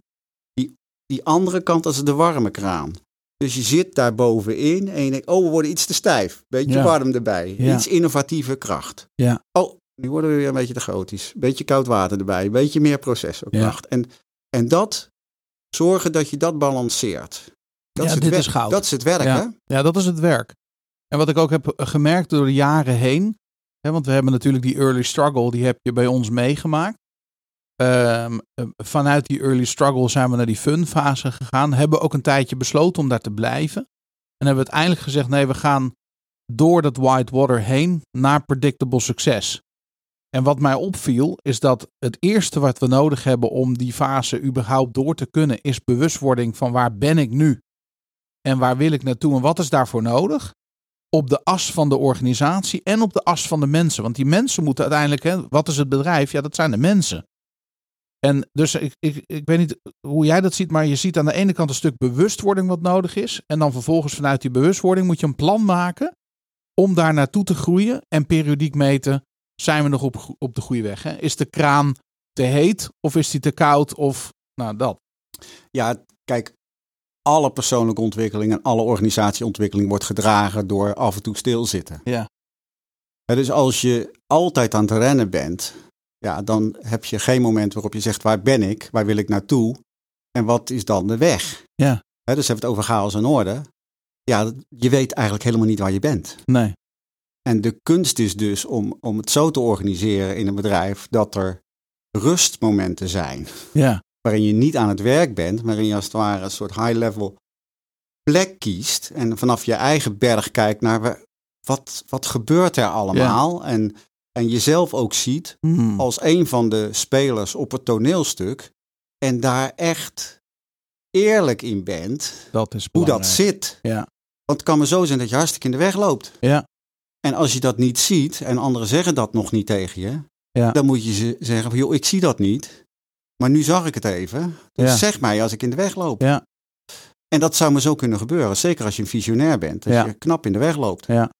S3: Die, die andere kant, dat is de warme kraan. Dus je zit daar bovenin en je denkt, oh, we worden iets te stijf. Beetje
S1: Ja.
S3: warm erbij.
S1: Ja.
S3: Iets innovatieve kracht.
S1: Ja.
S3: Oh, nu worden we weer een beetje te gotisch. Beetje koud water erbij. Beetje meer processorkracht. En, en dat, zorgen dat je dat balanceert. Dat
S1: Ja,
S3: het
S1: dit
S3: werk-
S1: is goud.
S3: Dat is het werk, hè?
S1: ja, dat is het werk. En wat ik ook heb gemerkt door de jaren heen. Hè, want we hebben natuurlijk die early struggle, die heb je bij ons meegemaakt. Ehm, eh, vanuit die early struggle zijn we naar die fun fase gegaan. Hebben ook een tijdje besloten om daar te blijven. En hebben uiteindelijk gezegd, nee, we gaan door dat white water heen naar predictable succes. En wat mij opviel, is dat het eerste wat we nodig hebben om die fase überhaupt door te kunnen, is bewustwording van waar ben ik nu? En waar wil ik naartoe en wat is daarvoor nodig? Op de as van de organisatie en op de as van de mensen. Want die mensen moeten uiteindelijk, hè, wat is het bedrijf? Ja, dat zijn de mensen. En dus ik, ik, ik weet niet hoe jij dat ziet, maar je ziet aan de ene kant een stuk bewustwording wat nodig is. En dan vervolgens vanuit die bewustwording moet je een plan maken om daar naartoe te groeien. En periodiek meten, zijn we nog op, go- op de goede weg? Hè? Is de kraan te heet of is die te koud? Of nou dat.
S3: Ja, kijk, alle persoonlijke ontwikkeling en alle organisatieontwikkeling wordt gedragen door af en toe stilzitten.
S1: Ja.
S3: Hè, dus als je altijd aan het rennen bent, ja, dan heb je geen moment waarop je zegt waar ben ik, waar wil ik naartoe en wat is dan de weg?
S1: Ja.
S3: Hè, dus hebben we het over chaos en orde. Ja, je weet eigenlijk helemaal niet waar je bent.
S1: Nee.
S3: En de kunst is dus om, om het zo te organiseren in een bedrijf dat er rustmomenten zijn.
S1: Ja.
S3: Waarin je niet aan het werk bent, maar waarin je als het ware een soort high-level plek kiest. En vanaf je eigen berg kijkt naar wa- wat, wat gebeurt er allemaal. En, en jezelf ook ziet
S1: Hmm.
S3: als een van de spelers op het toneelstuk. En daar echt eerlijk in bent
S1: Dat is
S3: hoe dat
S1: belangrijk.
S3: zit.
S1: Ja.
S3: Want het kan maar zo zijn dat je hartstikke in de weg loopt.
S1: Ja.
S3: En als je dat niet ziet en anderen zeggen dat nog niet tegen je,
S1: Ja.
S3: dan moet je ze zeggen van joh, ik zie dat niet. Maar nu zag ik het even. Dus
S1: Ja.
S3: zeg mij als ik in de weg loop.
S1: Ja.
S3: En dat zou me zo kunnen gebeuren. Zeker als je een visionair bent. Dat
S1: Ja.
S3: je knap in de weg loopt.
S1: Ja.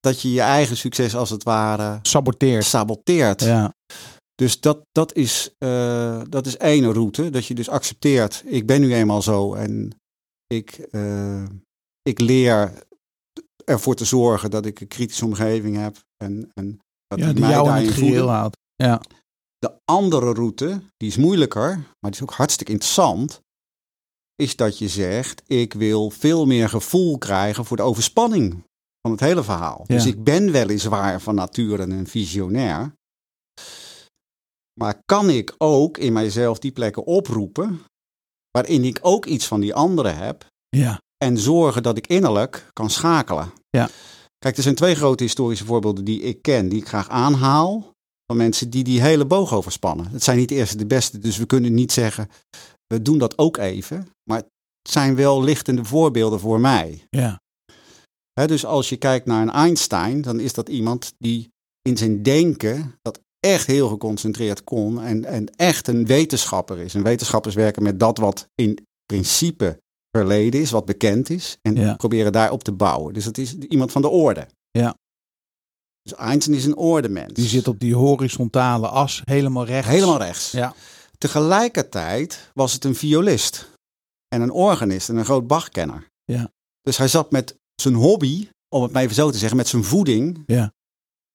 S3: Dat je je eigen succes als het ware
S1: Saboteert.
S3: saboteert.
S1: Ja.
S3: Dus dat, dat, is, eh, dat is één route. Dat je dus accepteert, ik ben nu eenmaal zo en ik, eh, ik leer ervoor te zorgen dat ik een kritische omgeving heb. En, en dat
S1: ja,
S3: die
S1: die
S3: mij
S1: jou in
S3: daarin
S1: het
S3: voeden.
S1: geheel houdt. Ja.
S3: De andere route, die is moeilijker, maar die is ook hartstikke interessant, is dat je zegt, ik wil veel meer gevoel krijgen voor de overspanning van het hele verhaal.
S1: Ja.
S3: Dus ik ben weliswaar van nature een visionair, maar kan ik ook in mijzelf die plekken oproepen waarin ik ook iets van die anderen heb
S1: Ja.
S3: en zorgen dat ik innerlijk kan schakelen.
S1: Ja.
S3: Kijk, er zijn twee grote historische voorbeelden die ik ken, die ik graag aanhaal. Van mensen die die hele boog overspannen. Het zijn niet de eerste de beste, dus we kunnen niet zeggen, we doen dat ook even. Maar het zijn wel lichtende voorbeelden voor mij.
S1: Ja.
S3: Hè, dus als je kijkt naar een Einstein, dan is dat iemand die in zijn denken dat echt heel geconcentreerd kon en, en echt een wetenschapper is. En wetenschappers werken met dat wat in principe verleden is, wat bekend is, en
S1: Ja.
S3: proberen daarop te bouwen. Dus dat is iemand van de orde.
S1: Ja.
S3: Dus Einstein is een ordemens.
S1: Die zit op die horizontale as helemaal recht.
S3: Helemaal rechts.
S1: Ja.
S3: Tegelijkertijd was het een violist en een organist en een groot Bachkenner.
S1: Ja.
S3: Dus hij zat met zijn hobby, om het maar even zo te zeggen, met zijn voeding,
S1: Ja.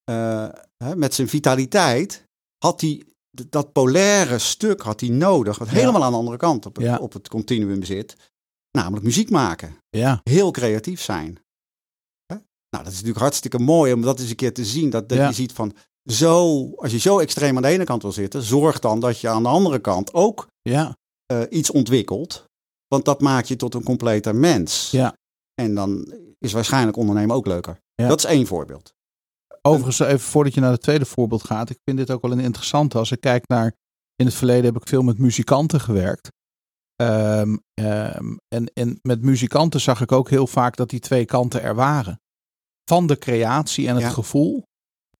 S3: eh, hè, met zijn vitaliteit, had hij d- dat polaire stuk had hij nodig, wat
S1: Ja.
S3: helemaal aan de andere kant op het,
S1: Ja.
S3: op het continuum zit, namelijk muziek maken
S1: Ja.
S3: heel creatief zijn. Hè? Nou, dat is natuurlijk hartstikke mooi om dat eens een keer te zien. Dat, dat
S1: Ja.
S3: je ziet van zo, als je zo extreem aan de ene kant wil zitten, zorg dan dat je aan de andere kant ook
S1: Ja.
S3: eh, iets ontwikkelt. Want dat maakt je tot een completer mens.
S1: Ja.
S3: En dan is waarschijnlijk ondernemen ook leuker.
S1: Ja.
S3: Dat is één voorbeeld.
S1: Overigens, eh, even voordat je naar het tweede voorbeeld gaat. Ik vind dit ook wel een interessante. Als ik kijk naar. In het verleden heb ik veel met muzikanten gewerkt. Ehm, ehm, en, en met muzikanten zag ik ook heel vaak dat die twee kanten er waren. Van de creatie en het
S3: Ja.
S1: gevoel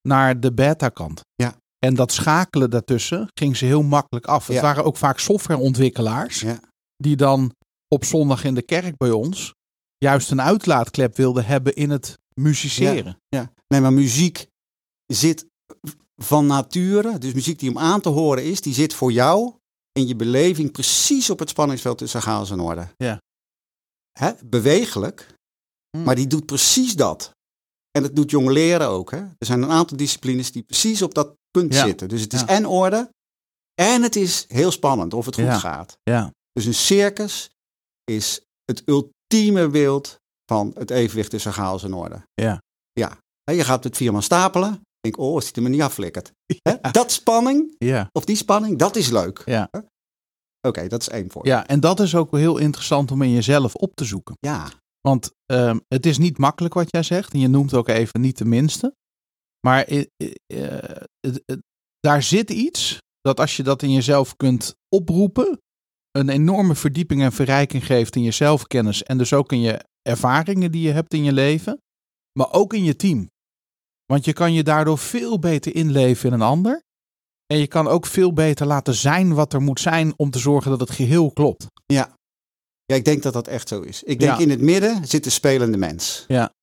S1: naar de beta-kant.
S3: Ja.
S1: En dat schakelen daartussen ging ze heel makkelijk af. Het
S3: Ja.
S1: waren ook vaak softwareontwikkelaars.
S3: Ja.
S1: Die dan op zondag in de kerk bij ons juist een uitlaatklep wilden hebben in het musiceren.
S3: Ja. Nee, maar muziek zit van nature, dus muziek die om aan te horen is, die zit voor jou in je beleving precies op het spanningsveld tussen chaos en orde.
S1: Ja.
S3: Hè? Bewegelijk,
S1: Hmm.
S3: maar die doet precies dat. En dat doet jong leren ook. Hè? Er zijn een aantal disciplines die precies op dat punt
S1: Ja.
S3: zitten. Dus het is
S1: Ja.
S3: en orde, en het is heel spannend of het goed
S1: Ja.
S3: gaat.
S1: ja.
S3: Dus een circus is het ultieme beeld van het evenwicht tussen chaos en orde.
S1: Ja.
S3: Ja. Hè, Je gaat het viermaal stapelen. Denk, oh, als die er maar niet afflikkert. Hè, Dat spanning,
S1: Ja,
S3: of die spanning, dat is leuk.
S1: Ja.
S3: Hè? Oké, dat is één voorbeeld.
S1: ja, en dat is ook heel interessant om in jezelf op te zoeken.
S3: Ja.
S1: Want ehm, het is niet makkelijk wat jij zegt. En je noemt ook even niet de minste. Maar eh, eh, eh, het- het- daar zit iets dat als je dat in jezelf kunt oproepen, een enorme verdieping en verrijking geeft in je zelfkennis. En dus ook in je ervaringen die je hebt in je leven. Maar ook in je team. Want je kan je daardoor veel beter inleven in een ander. En je kan ook veel beter laten zijn wat er moet zijn om te zorgen dat het geheel klopt.
S3: Ja, ik denk dat dat echt zo is. Ik denk
S1: Ja.
S3: in het midden zit de spelende mens.
S1: Ja.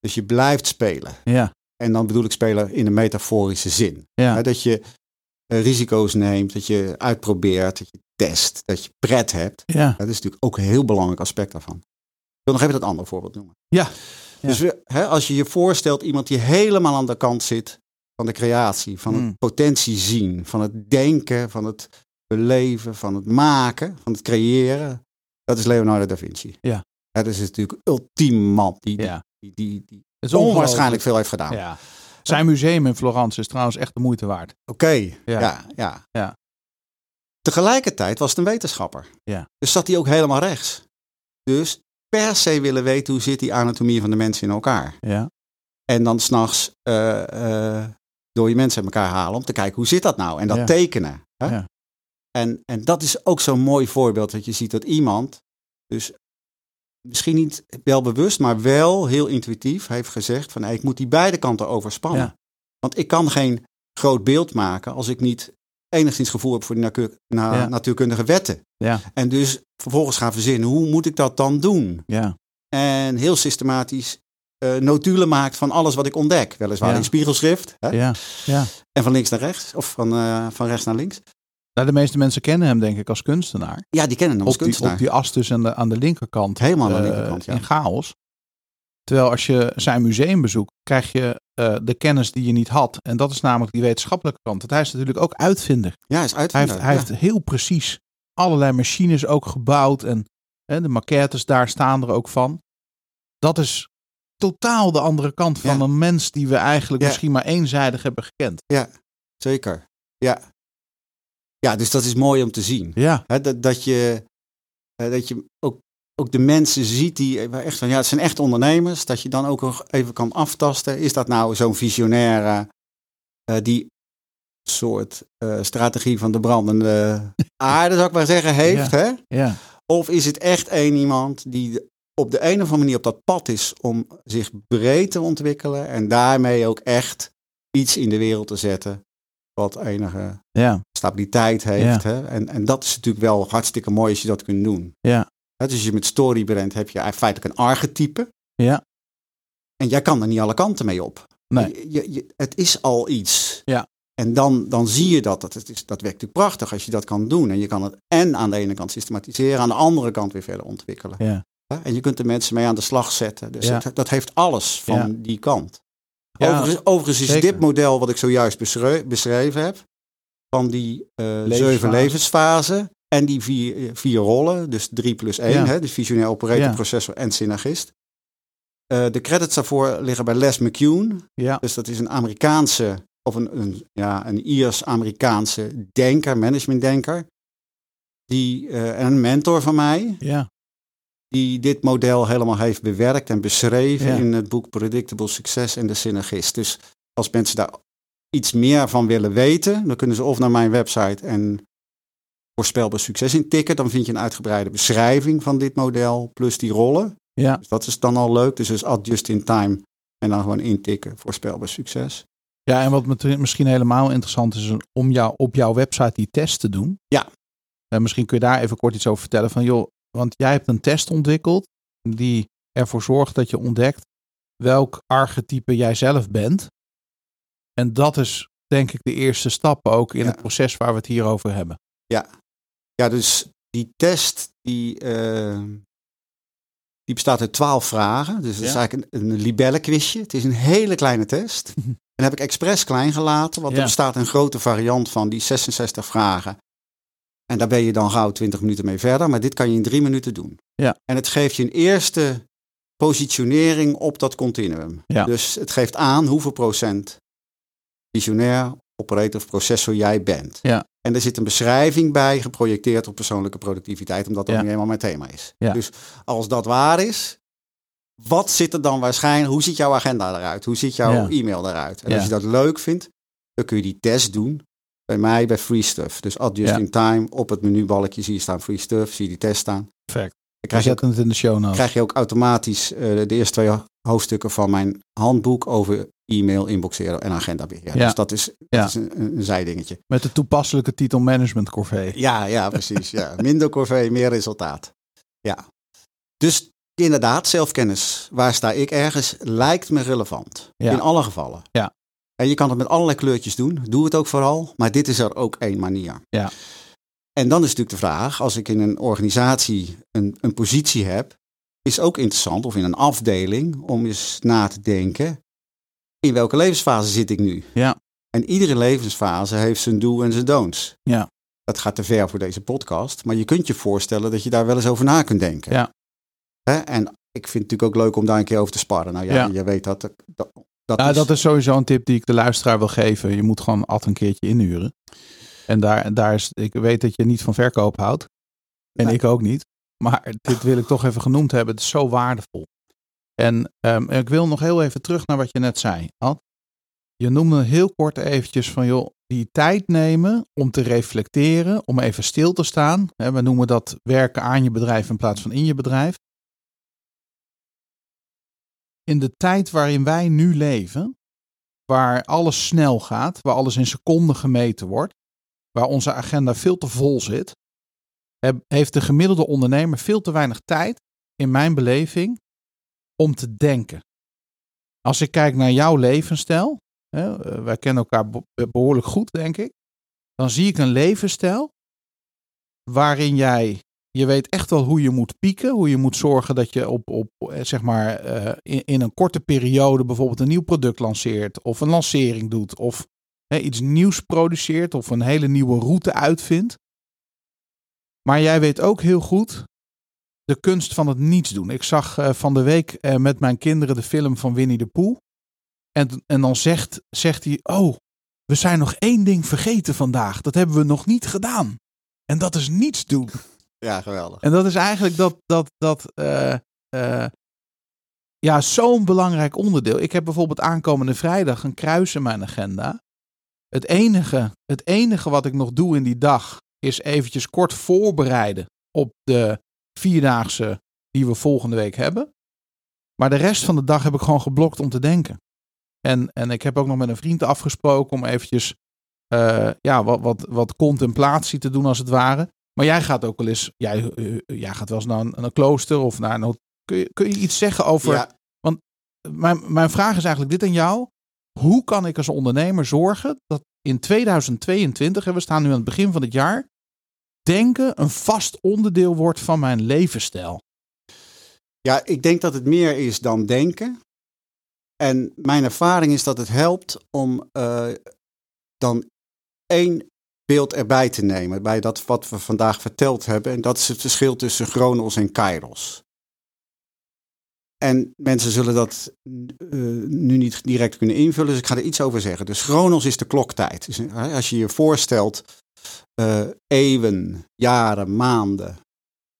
S3: Dus je blijft spelen.
S1: Ja,
S3: En dan bedoel ik spelen in een metaforische zin. Hè,
S1: ja,
S3: Dat je eh, risico's neemt, dat je uitprobeert, dat je test, dat je pret hebt.
S1: ja.
S3: Dat is natuurlijk ook een heel belangrijk aspect daarvan. Ik wil nog even dat andere voorbeeld noemen.
S1: Ja.
S3: Dus we, hè, als je je voorstelt iemand die helemaal aan de kant zit van de creatie, van
S1: Hmm.
S3: het potentie zien, van het denken, van het beleven, van het maken, van het creëren. Dat is Leonardo da Vinci.
S1: Ja.
S3: Hè, Dat is natuurlijk ultiem man. Die,
S1: ja.
S3: die, die, die
S1: Het is
S3: onwaarschijnlijk veel heeft gedaan.
S1: Ja. Zijn museum in Florence is trouwens echt de moeite waard.
S3: Oké,
S1: Ja.
S3: ja. Ja, ja.
S1: Ja.
S3: Tegelijkertijd was het een wetenschapper.
S1: Ja.
S3: Dus zat hij ook helemaal rechts. Dus per se willen weten hoe zit die anatomie van de mensen in elkaar.
S1: Ja.
S3: En dan s'nachts eh eh door je mensen uit elkaar halen om te kijken hoe zit dat nou. En dat
S1: Ja.
S3: tekenen. Hè?
S1: Ja.
S3: En, en dat is ook zo'n mooi voorbeeld dat je ziet dat iemand, dus misschien niet wel bewust, maar wel heel intuïtief heeft gezegd van hey, ik moet die beide kanten overspannen.
S1: Ja.
S3: Want ik kan geen groot beeld maken als ik niet enigszins gevoel heb voor die natuur- na-
S1: Ja.
S3: natuurkundige wetten.
S1: Ja.
S3: En dus vervolgens gaan verzinnen, hoe moet ik dat dan doen?
S1: Ja.
S3: en heel systematisch eh, notulen maakt van alles wat ik ontdek. Weliswaar
S1: Ja.
S3: in spiegelschrift hè?
S1: ja.
S3: en van links naar rechts of van, eh, van rechts naar links.
S1: Nou, de meeste mensen kennen hem denk ik als kunstenaar.
S3: Ja, die kennen hem als
S1: Op die,
S3: kunstenaar.
S1: op die as dus aan de, aan de linkerkant.
S3: Helemaal aan de
S1: eh,
S3: linkerkant, ja.
S1: In chaos. Terwijl als je zijn museum bezoekt, krijg je eh, de kennis die je niet had. En dat is namelijk die wetenschappelijke kant. Want hij is natuurlijk ook uitvinder.
S3: Ja, hij is
S1: Hij heeft,
S3: uitvinder.
S1: hij
S3: Nou, ja.
S1: heeft heel precies allerlei machines ook gebouwd. En hè, de maquettes daar staan er ook van. Dat is totaal de andere kant van
S3: Ja.
S1: een mens die we eigenlijk
S3: Ja.
S1: misschien maar eenzijdig hebben gekend.
S3: Zeker. Ja. ja, dus dat is mooi om te zien.
S1: Ja,
S3: Hè, dat, dat je, eh, dat je ook, ook de mensen ziet die waar echt van, ja, het zijn echt ondernemers. Dat je dan ook nog even kan aftasten. Is dat nou zo'n visionaire eh, die soort eh, strategie van de brandende aarde, zou ik maar zeggen, heeft? Hè?
S1: ja,
S3: Of is het echt één iemand die op de een of andere manier op dat pad is om zich breed te ontwikkelen en daarmee ook echt iets in de wereld te zetten wat enige
S1: ja,
S3: stabiliteit heeft. Hè? En, en dat is natuurlijk wel hartstikke mooi als je dat kunt doen.
S1: Ja.
S3: Hè, dus als je met story brengt, heb je eigenlijk feitelijk een archetype.
S1: Ja.
S3: En jij kan er niet alle kanten mee op.
S1: Nee.
S3: Je- je- je- het is al iets.
S1: Ja.
S3: En dan, dan zie je dat. Dat, het is, dat werkt natuurlijk prachtig als je dat kan doen. En je kan het en aan de ene kant systematiseren, aan de andere kant weer verder ontwikkelen.
S1: Ja.
S3: Hè, En je kunt de mensen mee aan de slag zetten. Dus
S1: Ja.
S3: dat, dat heeft alles van
S1: Ja.
S3: die kant.
S1: Ja,
S3: Overigens, overigens is
S1: zeker.
S3: dit model wat ik zojuist beschre- beschreven heb, van die eh, zeven levensfasen en die vier, eh, vier rollen, dus drie plus één,
S1: Ja.
S3: hè, dus visionair operator,
S1: Ja.
S3: processor en synergist. Eh, de credits daarvoor liggen bij Les McCune,
S1: ja,
S3: dus dat is een Amerikaanse, of een, een, ja, een Iers-Amerikaanse denker, managementdenker, die, eh, en een mentor van mij,
S1: ja,
S3: die dit model helemaal heeft bewerkt en beschreven
S1: Ja.
S3: in het boek Predictable Success en de Synergist. Dus als mensen daar iets meer van willen weten, dan kunnen ze of naar mijn website en voorspelbaar succes intikken. Dan vind je een uitgebreide beschrijving van dit model plus die rollen.
S1: Ja.
S3: Dus dat is dan al leuk. Dus is at just in time en dan gewoon intikken voorspelbaar succes.
S1: ja. En wat met- misschien helemaal interessant is, is om jou, op jouw website die test te doen.
S3: Ja.
S1: En misschien kun je daar even kort iets over vertellen. Van joh, want jij hebt een test ontwikkeld die ervoor zorgt dat je ontdekt welk archetype jij zelf bent. En dat is denk ik de eerste stap ook in
S3: Ja.
S1: het proces waar we het hier over hebben.
S3: Ja, dus die test die, eh, die bestaat uit twaalf vragen. Dus dat is
S1: Ja.
S3: eigenlijk een, een libellenquizje. Het is een hele kleine test. En heb ik expres klein gelaten, want
S1: Ja.
S3: er bestaat een grote variant van die 66 vragen. En daar ben je dan gauw 20 minuten mee verder, maar dit kan je in drie minuten doen.
S1: Ja.
S3: En het geeft je een eerste positionering op dat continuum.
S1: Ja.
S3: Dus het geeft aan hoeveel procent visionair, operator of processor jij bent.
S1: Ja.
S3: En er zit een beschrijving bij, geprojecteerd op persoonlijke productiviteit, omdat dat
S1: Ja.
S3: nu helemaal mijn thema is.
S1: Ja.
S3: Dus als dat waar is, wat zit er dan waarschijnlijk, hoe ziet jouw agenda eruit? Hoe ziet jouw
S1: Ja.
S3: e-mail eruit? En
S1: Ja.
S3: als je dat leuk vindt, dan kun je die test doen bij mij bij Free Stuff. Dus at just
S1: Ja.
S3: in time, op het menubalkje zie je staan Free Stuff, zie je die test staan. Dan
S1: Perfect. We
S3: krijg je ook,
S1: zetten het in de show notes.
S3: krijg je ook automatisch eh, de eerste twee hoofdstukken van mijn handboek over e-mail, inboxeren en agendabeheer.
S1: Ja.
S3: Dus dat is,
S1: Ja.
S3: dat is een, een een zijdingetje.
S1: Met de toepasselijke titel Management Corvée.
S3: Ja, ja, precies. Ja. Minder corvée, meer resultaat. Ja. Dus inderdaad, zelfkennis. Waar sta ik ergens? Lijkt me relevant.
S1: Ja.
S3: In alle gevallen.
S1: Ja.
S3: En je kan het met allerlei kleurtjes doen. Doe het ook vooral. Maar dit is er ook één manier.
S1: Ja.
S3: En dan is natuurlijk de vraag, als ik in een organisatie een, een positie heb, is ook interessant, of in een afdeling, om eens na te denken, in welke levensfase zit ik nu?
S1: Ja.
S3: En iedere levensfase heeft zijn do en zijn don'ts.
S1: Ja.
S3: Dat gaat te ver voor deze podcast, maar je kunt je voorstellen dat je daar wel eens over na kunt denken.
S1: Ja.
S3: Hè? En ik vind het natuurlijk ook leuk om daar een keer over te sparren. Nou ja,
S1: Ja.
S3: je weet dat. dat, dat
S1: nou,
S3: is,
S1: dat is sowieso een tip die ik de luisteraar wil geven. Je moet gewoon Ad een keertje inhuren. En daar, daar is, ik weet dat je niet van verkoop houdt. En
S3: Nee.
S1: ik ook niet. Maar dit wil ik toch even genoemd hebben. Het is zo waardevol. En ehm, ik wil nog heel even terug naar wat je net zei, Ad. Je noemde heel kort eventjes van, joh, die tijd nemen om te reflecteren, om even stil te staan. Hè, We noemen dat werken aan je bedrijf in plaats van in je bedrijf. In de tijd waarin wij nu leven, waar alles snel gaat, waar alles in seconden gemeten wordt, waar onze agenda veel te vol zit, heb- heeft de gemiddelde ondernemer veel te weinig tijd, in mijn beleving, om te denken. Als ik kijk naar jouw levensstijl, hè, eh, wij kennen elkaar be- behoorlijk goed, denk ik, dan zie ik een levensstijl waarin jij, je weet echt wel hoe je moet pieken, hoe je moet zorgen dat je op, op eh, zeg maar, eh, in, in een korte periode bijvoorbeeld een nieuw product lanceert of een lancering doet of hè, iets nieuws produceert of een hele nieuwe route uitvindt. Maar jij weet ook heel goed de kunst van het niets doen. Ik zag eh, van de week eh, met mijn kinderen de film van Winnie de Pooh. En, en dan zegt, zegt hij: Oh, we zijn nog één ding vergeten vandaag. Dat hebben we nog niet gedaan. En dat is niets doen.
S3: Ja, geweldig.
S1: En dat is eigenlijk dat, dat, dat eh, eh, ja, zo'n belangrijk onderdeel. Ik heb bijvoorbeeld aankomende vrijdag een kruis in mijn agenda. Het enige, het enige wat ik nog doe in die dag is eventjes kort voorbereiden op de vierdaagse die we volgende week hebben. Maar de rest van de dag heb ik gewoon geblokt om te denken. En, en ik heb ook nog met een vriend afgesproken om eventjes eh, ja, wat, wat, wat contemplatie te doen als het ware. Maar jij gaat ook wel eens, jij, eh, jij gaat wel eens naar een, naar een klooster of naar een. hot- Kun je, kun je iets zeggen over.
S3: Ja,
S1: Mijn, mijn vraag is eigenlijk dit aan jou. Hoe kan ik als ondernemer zorgen dat in 2022, en we staan nu aan het begin van het jaar, denken een vast onderdeel wordt van mijn levensstijl?
S3: Ja, ik denk dat het meer is dan denken. En mijn ervaring is dat het helpt om eh, dan één beeld erbij te nemen bij dat wat we vandaag verteld hebben. En dat is het verschil tussen Chronos en Kairos. En mensen zullen dat eh, nu niet direct kunnen invullen, dus ik ga er iets over zeggen. Dus Chronos is de kloktijd. Dus, eh, als je je voorstelt, eh, eeuwen, jaren, maanden,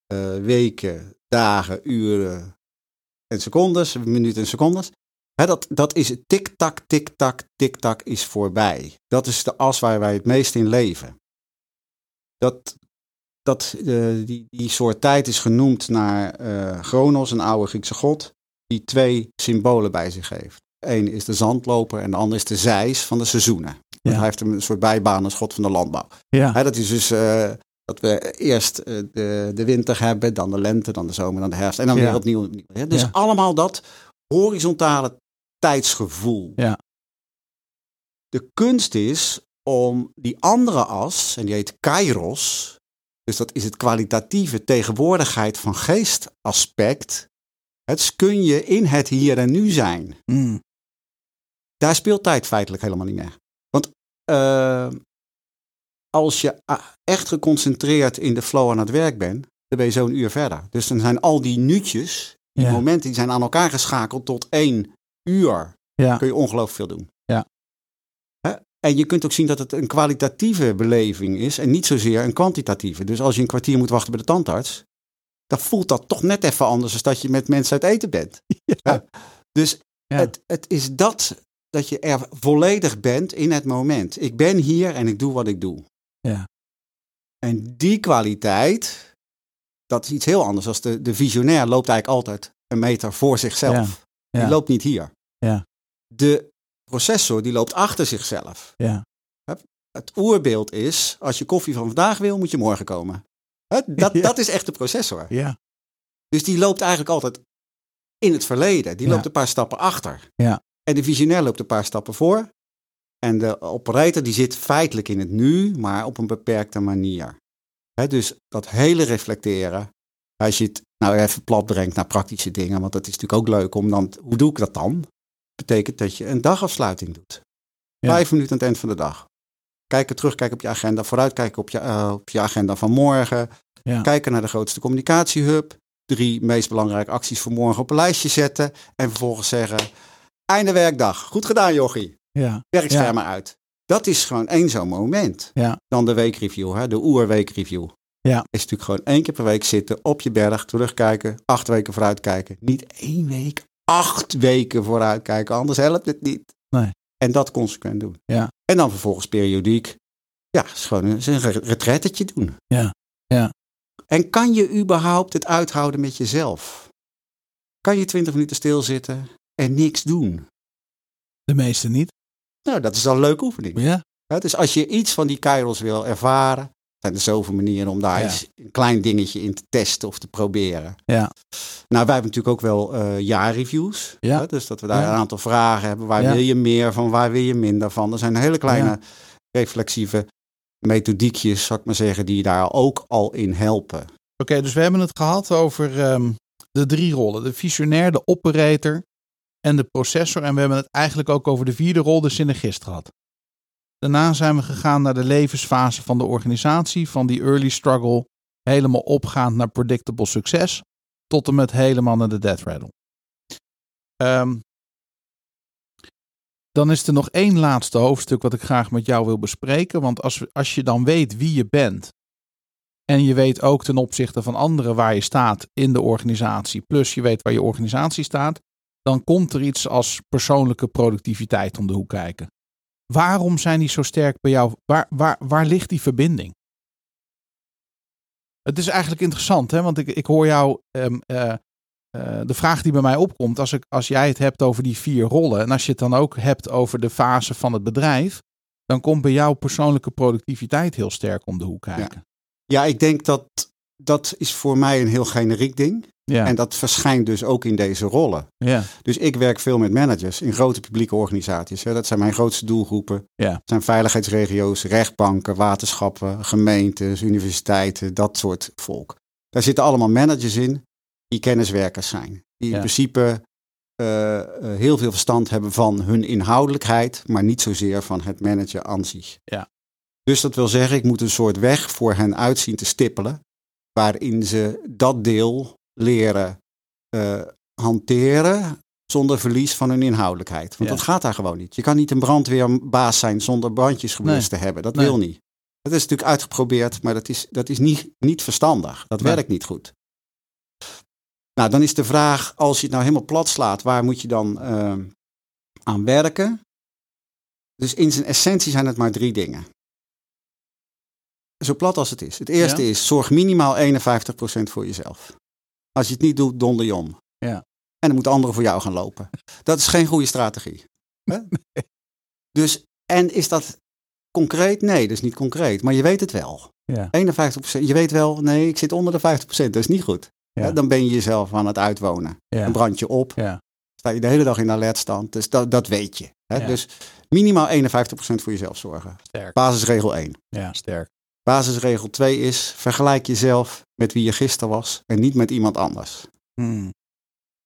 S3: eh, weken, dagen, uren en secondes, minuten en secondes. Hè, dat, dat is het tik-tak, tik-tak, tik-tak is voorbij. Dat is de as waar wij het meest in leven. Dat, dat, eh, die, die soort tijd is genoemd naar eh Chronos, een oude Griekse god, die twee symbolen bij zich heeft. Eén is de zandloper en de ander is de zeis van de seizoenen.
S1: Ja.
S3: Want hij heeft een soort bijbaan als god van de landbouw.
S1: Ja,
S3: Hè, dat is dus eh, dat we eerst eh, de, de winter hebben, dan de lente, dan de zomer, dan de herfst en dan
S1: Ja.
S3: weer opnieuw. opnieuw, hè. Dus
S1: Ja.
S3: allemaal dat horizontale tijdsgevoel.
S1: Ja.
S3: De kunst is om die andere as, en die heet kairos, dus dat is het kwalitatieve tegenwoordigheid van geestaspect. Het is kun je in het hier en nu zijn
S1: Mm.
S3: daar speelt tijd feitelijk helemaal niet meer. Want eh, als je ah, echt geconcentreerd in de flow aan het werk bent, dan ben je zo'n uur verder. Dus dan zijn al die nuutjes, die
S1: Ja.
S3: momenten, die zijn aan elkaar geschakeld tot één uur.
S1: Ja.
S3: Kun je ongelooflijk veel doen.
S1: Ja.
S3: Hè? En je kunt ook zien dat het een kwalitatieve beleving is en niet zozeer een kwantitatieve. Dus als je een kwartier moet wachten bij de tandarts, dan voelt dat toch net even anders dan dat je met mensen uit eten bent. Dus
S1: Ja.
S3: het, het is dat, dat je er volledig bent in het moment. Ik ben hier en ik doe wat ik doe.
S1: Ja.
S3: En die kwaliteit, dat is iets heel anders. Als de, de visionair loopt eigenlijk altijd een meter voor zichzelf.
S1: Ja.
S3: Die loopt niet hier.
S1: Ja.
S3: De processor die loopt achter zichzelf.
S1: Ja.
S3: Het oerbeeld is, als je koffie van vandaag wil, moet je morgen komen. Hè? Dat,
S1: Ja.
S3: dat is echt de processor.
S1: ja,
S3: Dus die loopt eigenlijk altijd in het verleden. Die
S1: Ja.
S3: loopt een paar stappen achter.
S1: Ja.
S3: En de visionair loopt een paar stappen voor. En de operator die zit feitelijk in het nu, maar op een beperkte manier. Hè, dus dat hele reflecteren. Als je het nou even plat brengt naar praktische dingen, want dat is natuurlijk ook leuk om dan, hoe doe ik dat dan? Betekent dat je een dagafsluiting doet.
S1: Ja.
S3: Vijf minuten aan het eind van de dag. Kijken terug, kijken op je agenda, vooruit kijken op je, eh, op je agenda van morgen.
S1: Ja.
S3: Kijken naar de grootste communicatiehub drie meest belangrijke acties voor morgen op een lijstje zetten. En vervolgens zeggen, einde werkdag. Goed gedaan, jochie.
S1: Ja.
S3: Werkschermen uit. Dat is gewoon één zo'n moment.
S1: Ja.
S3: Dan de weekreview, hè? de oerweekreview.
S1: Ja.
S3: Is natuurlijk gewoon één keer per week zitten op je berg, terugkijken, acht weken vooruitkijken. Niet één week, acht weken vooruitkijken, anders helpt het niet.
S1: Nee.
S3: En dat consequent doen.
S1: Ja.
S3: En dan vervolgens periodiek, ja, is gewoon een, is een re- retrettetje doen.
S1: Ja. Ja.
S3: En kan je überhaupt het uithouden met jezelf? Kan je twintig minuten stilzitten en niks doen?
S1: De meeste niet.
S3: Nou, dat is al een leuke oefening.
S1: Ja.
S3: Ja, dus als je iets van die kairos wil ervaren, zijn er zoveel manieren om daar
S1: Ja.
S3: eens een klein dingetje in te testen of te proberen.
S1: Ja.
S3: Nou, wij hebben natuurlijk ook wel eh, jaarreviews.
S1: Ja.
S3: Hè? Dus dat we daar
S1: Ja.
S3: een aantal vragen hebben. Waar
S1: Ja.
S3: wil je meer van, waar wil je minder van? Er zijn hele kleine
S1: Ja.
S3: reflexieve methodiekjes, zou ik maar zeggen, die daar ook al in helpen.
S1: Oké, dus we hebben het gehad over ehm, de drie rollen. De visionair, de operator en de processor. En we hebben het eigenlijk ook over de vierde rol, de synergist gehad. Daarna zijn we gegaan naar de levensfase van de organisatie. Van die early struggle helemaal opgaand naar predictable succes. Tot en met helemaal naar de death rattle. Ehm, dan is er nog één laatste hoofdstuk wat ik graag met jou wil bespreken. Want als, als je dan weet wie je bent en je weet ook ten opzichte van anderen waar je staat in de organisatie, plus je weet waar je organisatie staat, dan komt er iets als persoonlijke productiviteit om de hoek kijken. Waarom zijn die zo sterk bij jou? Waar, waar, waar ligt die verbinding? Het is eigenlijk interessant, hè? want ik, ik hoor jou. ehm, eh, eh, de vraag die bij mij opkomt, als, ik, als jij het hebt over die vier rollen, en als je het dan ook hebt over de fase van het bedrijf, dan komt bij jou persoonlijke productiviteit heel sterk om de hoek kijken.
S3: Ja, ik denk dat dat is voor mij een heel generiek ding.
S1: Ja.
S3: En dat verschijnt dus ook in deze rollen.
S1: Ja,
S3: Dus ik werk veel met managers in grote publieke organisaties. Hè. Dat zijn mijn grootste doelgroepen.
S1: Ja.
S3: Dat zijn veiligheidsregio's, rechtbanken, waterschappen, gemeentes, universiteiten, dat soort volk. Daar zitten allemaal managers in die kenniswerkers zijn. Die in
S1: Ja.
S3: principe eh, eh, heel veel verstand hebben van hun inhoudelijkheid, maar niet zozeer van het managen aan zich.
S1: Ja.
S3: Dus dat wil zeggen, ik moet een soort weg voor hen uitzien te stippelen, waarin ze dat deel leren eh, hanteren, zonder verlies van hun inhoudelijkheid. Want
S1: Ja.
S3: dat gaat daar gewoon niet. Je kan niet een brandweerbaas zijn zonder brandjes geblust te hebben. Dat
S1: Nee.
S3: wil niet. Dat is natuurlijk uitgeprobeerd, maar dat is, dat is niet, niet verstandig. Dat
S1: Nee.
S3: werkt niet goed. Nou, dan is de vraag, als je het nou helemaal plat slaat, waar moet je dan eh, aan werken? Dus in zijn essentie zijn het maar drie dingen. Zo plat als het is. Het eerste is, zorg minimaal 51% voor jezelf. Als je het niet doet, donder je om.
S1: Ja.
S3: En dan moeten anderen voor jou gaan lopen. Dat is geen goede strategie. Hè? Dus, en is dat concreet? Nee, dat is niet concreet. Maar je weet het wel.
S1: Ja.
S3: 51%. Je weet wel, nee, ik zit onder de 50%. Dat is niet goed.
S1: Ja.
S3: Hè, Dan ben je jezelf aan het uitwonen.
S1: ja.
S3: Dan brand je op.
S1: Ja.
S3: Sta je de hele dag in alertstand. Dus dat, dat weet je. Hè?
S1: Ja.
S3: Dus minimaal 51% voor jezelf zorgen.
S1: Sterk.
S3: Basisregel 1.
S1: Ja, sterk.
S3: Basisregel 2 is, vergelijk jezelf met wie je gisteren was en niet met iemand anders. Hmm.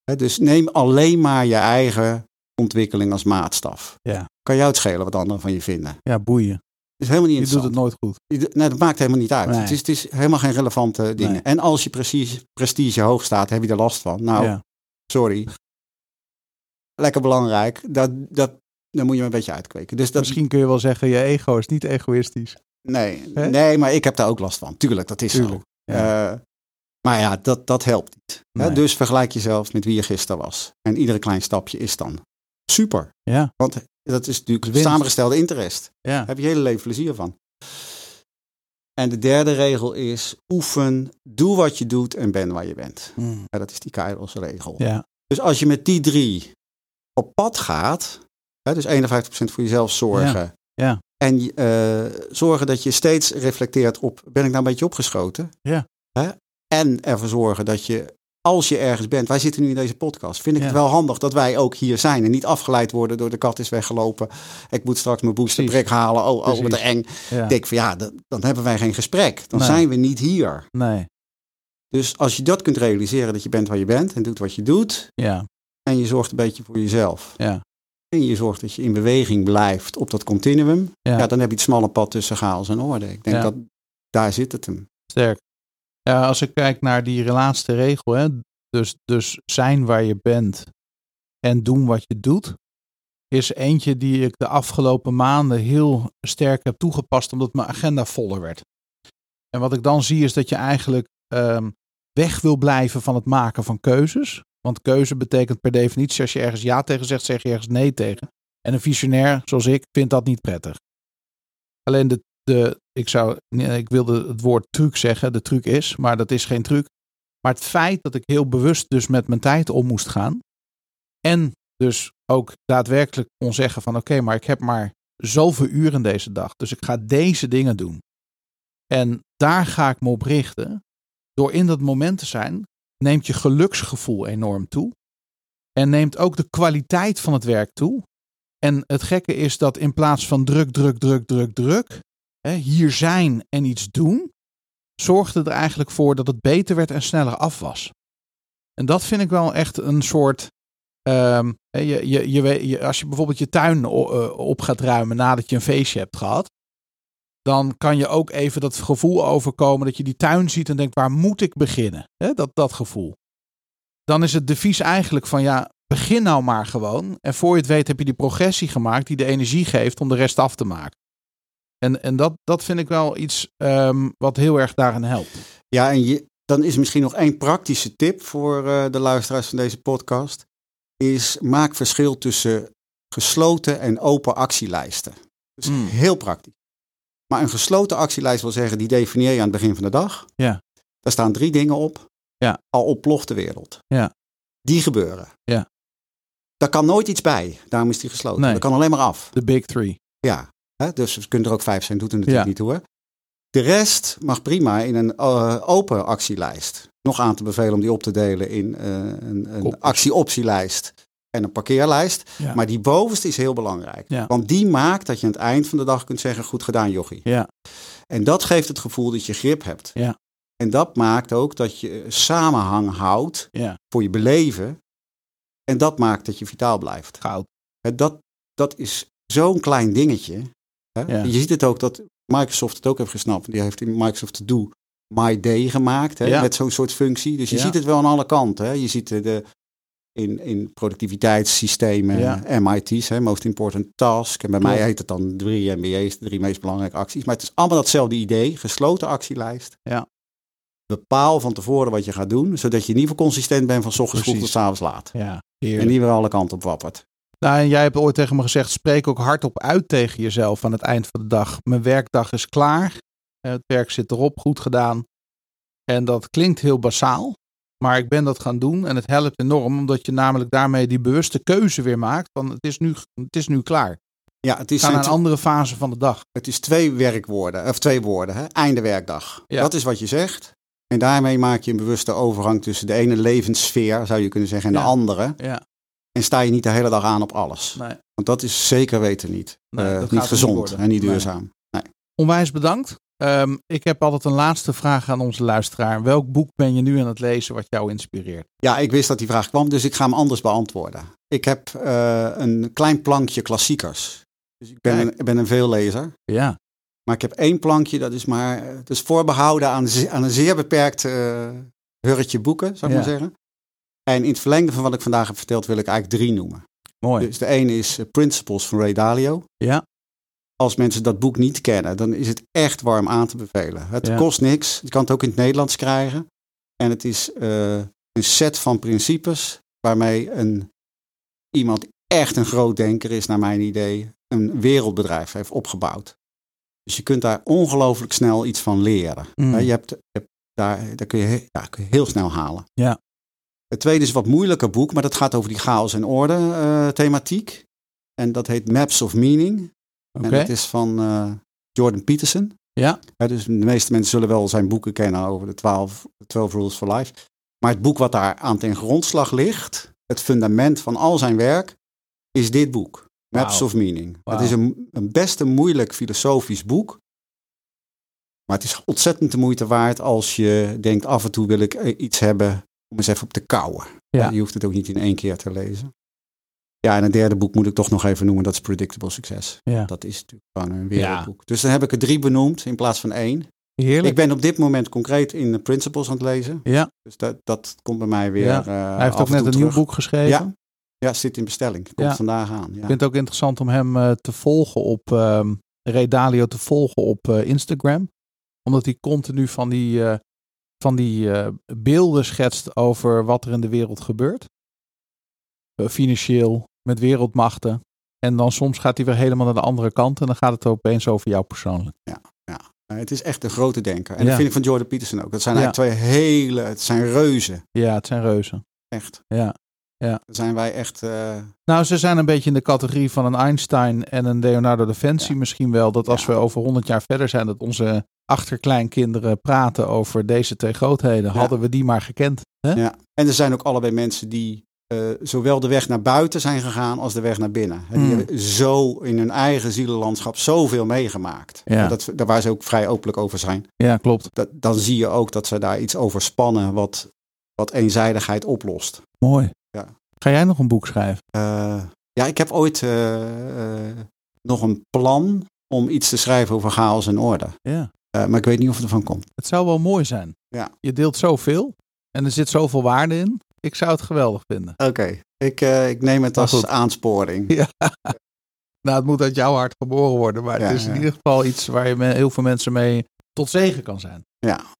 S3: Hè, dus neem alleen maar je eigen ontwikkeling als maatstaf.
S1: Ja.
S3: Kan jou het schelen wat anderen van je vinden.
S1: Ja, boeien.
S3: is helemaal niet
S1: Je doet
S3: interessant.
S1: het nooit goed.
S3: Je doet- nee, dat maakt helemaal niet uit.
S1: Nee.
S3: Het, is, het is helemaal geen relevante dingen.
S1: Nee.
S3: En als je precies prestige hoog staat, heb je er last van. Nou,
S1: Ja.
S3: sorry. Lekker belangrijk. Dat, dat, daar moet je me een beetje uitkweken. Dus dat,
S1: Misschien kun je wel zeggen, je ego is niet egoïstisch.
S3: Nee,
S1: Hè?
S3: nee, maar ik heb daar ook last van. Tuurlijk, dat is
S1: Tuurlijk,
S3: zo.
S1: ja.
S3: Eh, maar ja, dat, dat helpt niet. Hè,
S1: Nee.
S3: Dus vergelijk jezelf met wie je gisteren was. En iedere klein stapje is dan super.
S1: Ja.
S3: Want dat is natuurlijk
S1: Winst.
S3: samengestelde interest.
S1: Ja.
S3: Daar heb je hele leven plezier van. En de derde regel is oefen, doe wat je doet en ben waar je bent. Ja, dat is die Kairos regel.
S1: Ja.
S3: Dus als je met die drie op pad gaat, hè, dus 51% voor jezelf zorgen.
S1: ja.
S3: En eh, zorgen dat je steeds reflecteert op, ben ik nou een beetje opgeschoten?
S1: Ja.
S3: Hè? En ervoor zorgen dat je, als je ergens bent, wij zitten nu in deze podcast, vind ik
S1: Ja.
S3: het wel handig dat wij ook hier zijn en niet afgeleid worden door de kat is weggelopen. Ik moet straks mijn boosterprik halen. Oh, oh wat
S1: Precies.
S3: eng.
S1: Ja.
S3: Ik denk van ja, dan, dan hebben wij geen gesprek. Dan
S1: Nee.
S3: zijn we niet hier.
S1: Nee.
S3: Dus als je dat kunt realiseren, dat je bent waar je bent en doet wat je doet,
S1: Ja.
S3: en je zorgt een beetje voor jezelf.
S1: Ja.
S3: En je zorgt dat je in beweging blijft op dat continuum.
S1: Ja.
S3: Ja, dan heb je het smalle pad tussen chaos en orde. Ik denk
S1: Ja.
S3: dat daar zit het hem.
S1: Sterk. Ja, als ik kijk naar die relaatste regel, hè, dus, dus zijn waar je bent en doen wat je doet, is eentje die ik de afgelopen maanden heel sterk heb toegepast, omdat mijn agenda voller werd. En wat ik dan zie is dat je eigenlijk ehm, weg wil blijven van het maken van keuzes. Want keuze betekent per definitie, als je ergens ja tegen zegt, zeg je ergens nee tegen. En een visionair zoals ik vindt dat niet prettig. Alleen de, de, ik, zou, nee, ik wilde het woord truc zeggen, de truc is, maar dat is geen truc. Maar het feit dat ik heel bewust dus met mijn tijd om moest gaan. En dus ook daadwerkelijk kon zeggen van oké, maar ik heb maar zoveel uren deze dag. Dus ik ga deze dingen doen. En daar ga ik me op richten. Door in dat moment te zijn, neemt je geluksgevoel enorm toe. En neemt ook de kwaliteit van het werk toe. En het gekke is dat in plaats van druk, druk, druk, druk, druk, hè, hier zijn en iets doen, zorgde er eigenlijk voor dat het beter werd en sneller af was. En dat vind ik wel echt een soort. ehm, hè, je, je, je, weet- je- als je bijvoorbeeld je tuin o- eh, op gaat ruimen nadat je een feestje hebt gehad, dan kan je ook even dat gevoel overkomen dat je die tuin ziet en denkt: waar moet ik beginnen? Hè, dat, dat gevoel. Dan is het devies eigenlijk van ja, begin nou maar gewoon. En voor je het weet heb je die progressie gemaakt die de energie geeft om de rest af te maken. En, en dat, dat vind ik wel iets ehm, wat heel erg daarin helpt.
S3: Ja, en je, dan is misschien nog één praktische tip voor eh, de luisteraars van deze podcast. Is maak verschil tussen gesloten en open actielijsten. Dus
S1: Mm.
S3: heel praktisch. Maar een gesloten actielijst wil zeggen, die definieer je aan het begin van de dag.
S1: Ja.
S3: Daar staan drie dingen op.
S1: Ja.
S3: Al ontploft de wereld.
S1: Ja.
S3: Die gebeuren.
S1: Ja.
S3: Daar kan nooit iets bij. Daarom is die gesloten.
S1: Nee.
S3: Dat kan alleen maar af.
S1: De big three.
S3: Ja, hè? dus het kunnen er ook vijf zijn, doet er natuurlijk
S1: Ja.
S3: niet toe. Hè? De rest mag prima in een eh, open actielijst. Nog aan te bevelen om die op te delen in eh, een, een
S1: Kopjes.
S3: actie-optielijst en een parkeerlijst.
S1: Ja.
S3: Maar die bovenste is heel belangrijk.
S1: Ja.
S3: Want die maakt dat je aan het eind van de dag kunt zeggen, goed gedaan jochie.
S1: Ja.
S3: En dat geeft het gevoel dat je grip hebt.
S1: Ja.
S3: En dat maakt ook dat je samenhang houdt
S1: Ja.
S3: voor je beleven. En dat maakt dat je vitaal blijft.
S1: Goud.
S3: Hè, dat, dat is zo'n klein dingetje. Hè?
S1: Ja.
S3: Je ziet het ook dat Microsoft het ook heeft gesnapt. Die heeft in Microsoft To Do My Day gemaakt. Hè?
S1: Ja.
S3: Met zo'n soort functie. Dus je
S1: Ja.
S3: ziet het wel aan alle kanten. Hè? Je ziet eh, de, in, in productiviteitssystemen,
S1: Ja.
S3: MIT's, hè? Most Important Task. En bij mij
S1: Klopt.
S3: heet het dan drie MBA's, de drie meest belangrijke acties. Maar het is allemaal datzelfde idee. Gesloten actielijst.
S1: Ja.
S3: Bepaal van tevoren wat je gaat doen, zodat je in ieder geval consistent bent van 's ochtends vroeg
S1: Precies.
S3: tot 's avonds laat.
S1: Ja.
S3: En niet weer alle kanten op wappert.
S1: Nou, en jij hebt ooit tegen me gezegd: spreek ook hardop uit tegen jezelf aan het eind van de dag. Mijn werkdag is klaar. Eh, Het werk zit erop, goed gedaan. En dat klinkt heel basaal. Maar ik ben dat gaan doen en het helpt enorm, omdat je namelijk daarmee die bewuste keuze weer maakt. Van het is nu, het is nu klaar.
S3: Ja, het is,
S1: We gaan naar
S3: zijn-
S1: een andere fase van de dag.
S3: Het is twee werkwoorden, of twee woorden, hè? einde werkdag.
S1: Ja.
S3: Dat is wat je zegt. En daarmee maak je een bewuste overgang tussen de ene levenssfeer, zou je kunnen zeggen, en
S1: Ja.
S3: de andere.
S1: Ja,
S3: En sta je niet de hele dag aan op alles.
S1: nee.
S3: Want dat is zeker weten niet.
S1: Nee,
S3: Eh,
S1: dat gaat
S3: niet
S1: niet
S3: gezond
S1: worden.
S3: en niet
S1: Nee.
S3: duurzaam.
S1: Onwijs bedankt. Ehm, ik heb altijd een laatste vraag aan onze luisteraar. Welk boek ben je nu aan het lezen wat jou inspireert?
S3: Ja, ik wist dat die vraag kwam, dus ik ga hem anders beantwoorden. Ik heb eh, een klein plankje klassiekers. Dus ik ben,
S1: Kijk.
S3: een, ik ben een veellezer.
S1: Ja,
S3: Maar ik heb één plankje, dat is maar eh, dat is voorbehouden aan, ze- aan een zeer beperkt eh, hurretje boeken, zou ik
S1: Ja.
S3: maar zeggen. En in het verlengde van wat ik vandaag heb verteld, wil ik eigenlijk drie noemen.
S1: mooi.
S3: Dus de ene is eh, Principles van Ray Dalio.
S1: Ja.
S3: Als mensen dat boek niet kennen, dan is het echt warm aan te bevelen. Het
S1: Ja.
S3: kost niks. Je kan het ook in het Nederlands krijgen. En het is eh, een set van principes waarmee een, iemand echt een groot denker is, naar mijn idee, een wereldbedrijf heeft opgebouwd. Dus je kunt daar ongelooflijk snel iets van leren.
S1: Mm.
S3: Hè, Je hebt, je hebt daar, daar kun je, he- ja, kun je heel snel halen.
S1: Ja.
S3: Het tweede is een wat moeilijker boek, maar dat gaat over die chaos en orde eh, thematiek. En dat heet Maps of Meaning.
S1: Oké.
S3: En dat is van eh, Jordan Peterson.
S1: Ja.
S3: Hè, dus de meeste mensen zullen wel zijn boeken kennen over de 12, 12 Rules for Life. Maar het boek wat daar aan ten grondslag ligt, het fundament van al zijn werk, is dit boek. Maps
S1: Wauw.
S3: of Meaning.
S1: Wauw.
S3: Het is een, een best een moeilijk filosofisch boek. Maar het is ontzettend de moeite waard als je denkt af en toe wil ik eh, iets hebben om eens even op te kouwen.
S1: Ja.
S3: Je hoeft het ook niet in één keer te lezen. Ja, en een derde boek moet ik toch nog even noemen, dat is Predictable Success.
S1: Ja.
S3: Dat is natuurlijk gewoon een wereldboek. Dus dan heb ik er drie benoemd in plaats van één.
S1: Heerlijk.
S3: Ik ben op dit moment concreet in de principles aan het lezen.
S1: Ja.
S3: Dus dat, dat komt bij mij weer.
S1: Ja.
S3: eh,
S1: Hij heeft
S3: af
S1: ook
S3: en
S1: net
S3: toe
S1: een nieuw
S3: terug.
S1: boek geschreven.
S3: Ja. Ja, zit in bestelling. Komt
S1: Ja.
S3: vandaag aan. Ja.
S1: Ik vind het ook interessant om hem eh, te volgen op ehm Ray Dalio te volgen op eh, Instagram. Omdat hij continu van die, eh, van die eh, beelden schetst over wat er in de wereld gebeurt. Eh, financieel, met wereldmachten. En dan soms gaat hij weer helemaal naar de andere kant. En dan gaat het opeens over jou persoonlijk.
S3: Eh, Het is echt een grote denker. En
S1: Ja.
S3: dat vind ik van Jordan Peterson ook. Dat zijn
S1: Ja.
S3: eigenlijk twee hele, het zijn reuzen.
S1: Ja, het zijn reuzen.
S3: Echt.
S1: Ja. Ja.
S3: Daar zijn wij echt... eh,
S1: Nou, ze zijn een beetje in de categorie van een Einstein en een Leonardo da Vinci
S3: Ja.
S1: misschien wel. Dat als
S3: Ja.
S1: we over 100 jaar verder zijn, dat onze achterkleinkinderen praten over deze twee grootheden.
S3: Ja.
S1: Hadden we die maar gekend. Hè?
S3: Ja. En er zijn ook allebei mensen die eh, zowel de weg naar buiten zijn gegaan als de weg naar binnen. En die
S1: Mm.
S3: hebben zo in hun eigen zielenlandschap zoveel meegemaakt.
S1: Ja.
S3: Dat, daar waar ze ook vrij openlijk over zijn.
S1: Ja, klopt.
S3: Dat, dan zie je ook dat ze daar iets over spannen wat, wat eenzijdigheid oplost.
S1: Mooi.
S3: Ja.
S1: Ga jij nog een boek schrijven?
S3: Eh, ja, ik heb ooit eh, eh, nog een plan om iets te schrijven over chaos en orde.
S1: Ja.
S3: Eh, maar ik weet niet of het ervan komt.
S1: Het zou wel mooi zijn.
S3: Ja.
S1: Je deelt zoveel en er zit zoveel waarde in. Ik zou het geweldig vinden.
S3: Oké, ik, eh, ik neem het
S1: Maar
S3: als
S1: goed.
S3: aansporing.
S1: Nou, het moet uit jouw hart geboren worden. Maar
S3: Ja,
S1: het is in
S3: ja.
S1: ieder geval iets waar je me- heel veel mensen mee tot zegen kan zijn.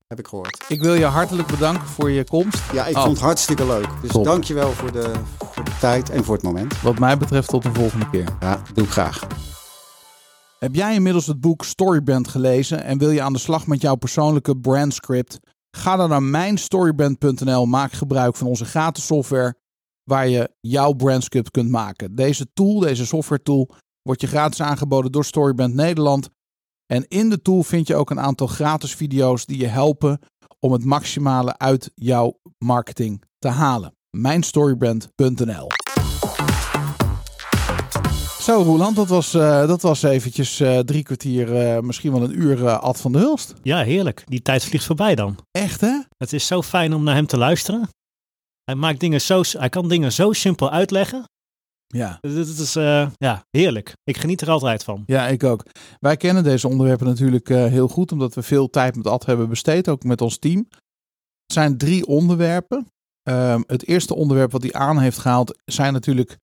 S3: Heb ik gehoord.
S1: Ik wil je hartelijk bedanken voor je komst.
S3: Ja, ik
S1: Oh.
S3: vond het hartstikke leuk. Dus
S1: Top.
S3: dankjewel voor de, voor de tijd en voor het moment.
S1: Wat mij betreft tot de volgende keer.
S3: Ja, doe ik graag.
S1: Heb jij inmiddels het boek Storybrand gelezen en wil je aan de slag met jouw persoonlijke brandscript? Ga dan naar mijnstorybrand.nl. Maak gebruik van onze gratis software waar je jouw brandscript kunt maken. Deze tool, deze software tool, wordt je gratis aangeboden door Storybrand Nederland. En in de tool vind je ook een aantal gratis video's die je helpen om het maximale uit jouw marketing te halen. Mijnstorybrand.nl zo, Roland, dat was, eh, dat was eventjes eh, drie kwartier, eh, misschien wel een uur eh, Ad van de Hulst.
S2: Ja, heerlijk. Die tijd vliegt voorbij dan.
S1: Echt, hè?
S2: Het is zo fijn om naar hem te luisteren. Hij, maakt dingen zo, hij kan dingen zo simpel uitleggen.
S1: Ja.
S2: Dit is eh, ja, heerlijk. Ik geniet er altijd van.
S1: Ja, ik ook. Wij kennen deze onderwerpen natuurlijk eh, heel goed, omdat we veel tijd met Ad hebben besteed, ook met ons team. Het zijn drie onderwerpen. Ehm, het eerste onderwerp wat hij aan heeft gehaald, zijn natuurlijk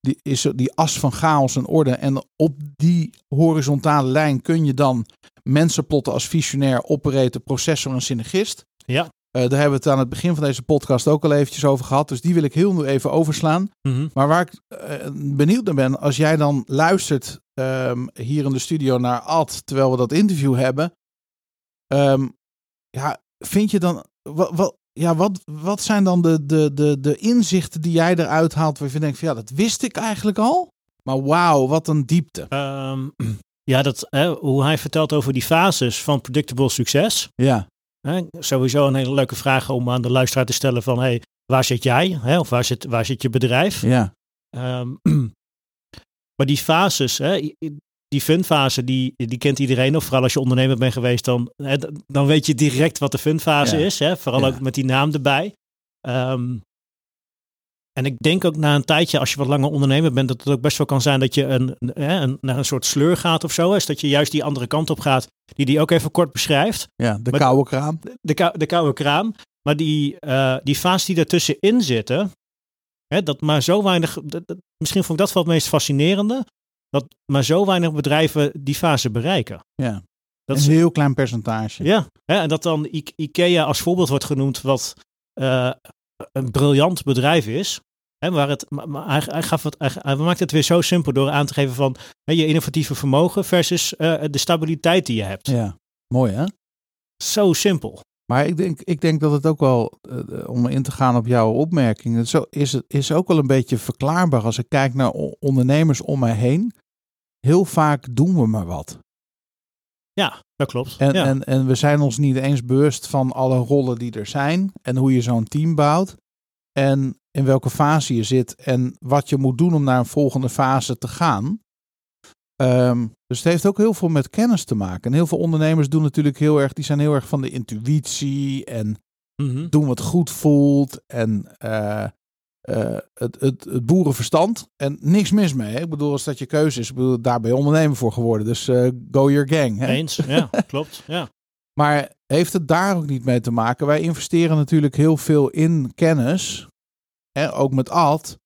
S1: die, is die as van chaos en orde. En op die horizontale lijn kun je dan mensen plotten als visionair, operator, processor en synergist.
S2: Ja.
S1: Eh, daar hebben we het aan het begin van deze podcast ook al eventjes over gehad. Dus die wil ik heel nu even overslaan.
S2: Mhm.
S1: Maar waar ik eh, benieuwd naar ben, als jij dan luistert ehm, hier in de studio naar Ad, terwijl we dat interview hebben. ehm, ja, vind je dan. Wat, wat, ja, wat, wat zijn dan de, de, de, de inzichten die jij eruit haalt waarvan je denkt van ja, dat wist ik eigenlijk al. Maar wauw, wat een diepte.
S2: Ehm, ja, dat, hè, hoe hij vertelt over die fases van predictable succes.
S1: Ja,
S2: Hè, sowieso een hele leuke vraag om aan de luisteraar te stellen van hey, waar zit jij? Hè, of waar zit, waar zit je bedrijf?
S1: ja,
S2: Ehm, maar die fases, hè, i- i- die funfase, die, die kent iedereen. Of vooral als je ondernemer bent geweest, dan, hè, d- dan weet je direct wat de funfase
S1: Ja.
S2: is. Hè, vooral
S1: Ja.
S2: ook met die naam erbij. Ehm, en ik denk ook na een tijdje, als je wat langer ondernemer bent, dat het ook best wel kan zijn dat je een, een- hè, een, naar een soort sleur gaat of zo. Is dat je juist die andere kant op gaat, die die ook even kort beschrijft
S1: ja de
S2: Maar-
S1: koude kraam.
S2: de, kou- de koude kraam. Maar die, eh, die fases die daartussenin zitten, hè, dat maar zo weinig, dat- dat- misschien vond ik dat wel het meest fascinerende, dat maar zo weinig bedrijven die fase bereiken.
S1: Ja.
S2: Dat
S1: een
S2: is,
S1: heel klein percentage.
S2: ja, hè, en dat dan I- IKEA als voorbeeld wordt genoemd, wat eh, een briljant bedrijf is. Hè, waar het, maar maar hij, hij, gaf het, hij, hij maakt het weer zo simpel door aan te geven van hè, je innovatieve vermogen versus eh, de stabiliteit die je hebt.
S1: ja. Mooi hè?
S2: Zo simpel.
S1: Maar ik denk, ik denk dat het ook wel, eh, om in te gaan op jouw opmerkingen, zo is het is ook wel een beetje verklaarbaar als ik kijk naar o- ondernemers om mij heen. Heel vaak doen we maar wat.
S2: Ja, dat klopt.
S1: En,
S2: ja.
S1: en, en we zijn ons niet eens bewust van alle rollen die er zijn en hoe je zo'n team bouwt. En in welke fase je zit en wat je moet doen om naar een volgende fase te gaan. Ehm, dus het heeft ook heel veel met kennis te maken. En heel veel ondernemers doen natuurlijk heel erg, die zijn heel erg van de intuïtie en
S2: Mhm.
S1: doen wat goed voelt en eh, eh, het, het, het boerenverstand. En niks mis mee. Hè? Ik bedoel, als dat je keuze is, ik bedoel, daar ben je ondernemer voor geworden. Dus eh, go your gang. Hè?
S2: Eens, ja, klopt. Ja.
S1: Maar heeft het daar ook niet mee te maken? Wij investeren natuurlijk heel veel in kennis, hè, ook met ad,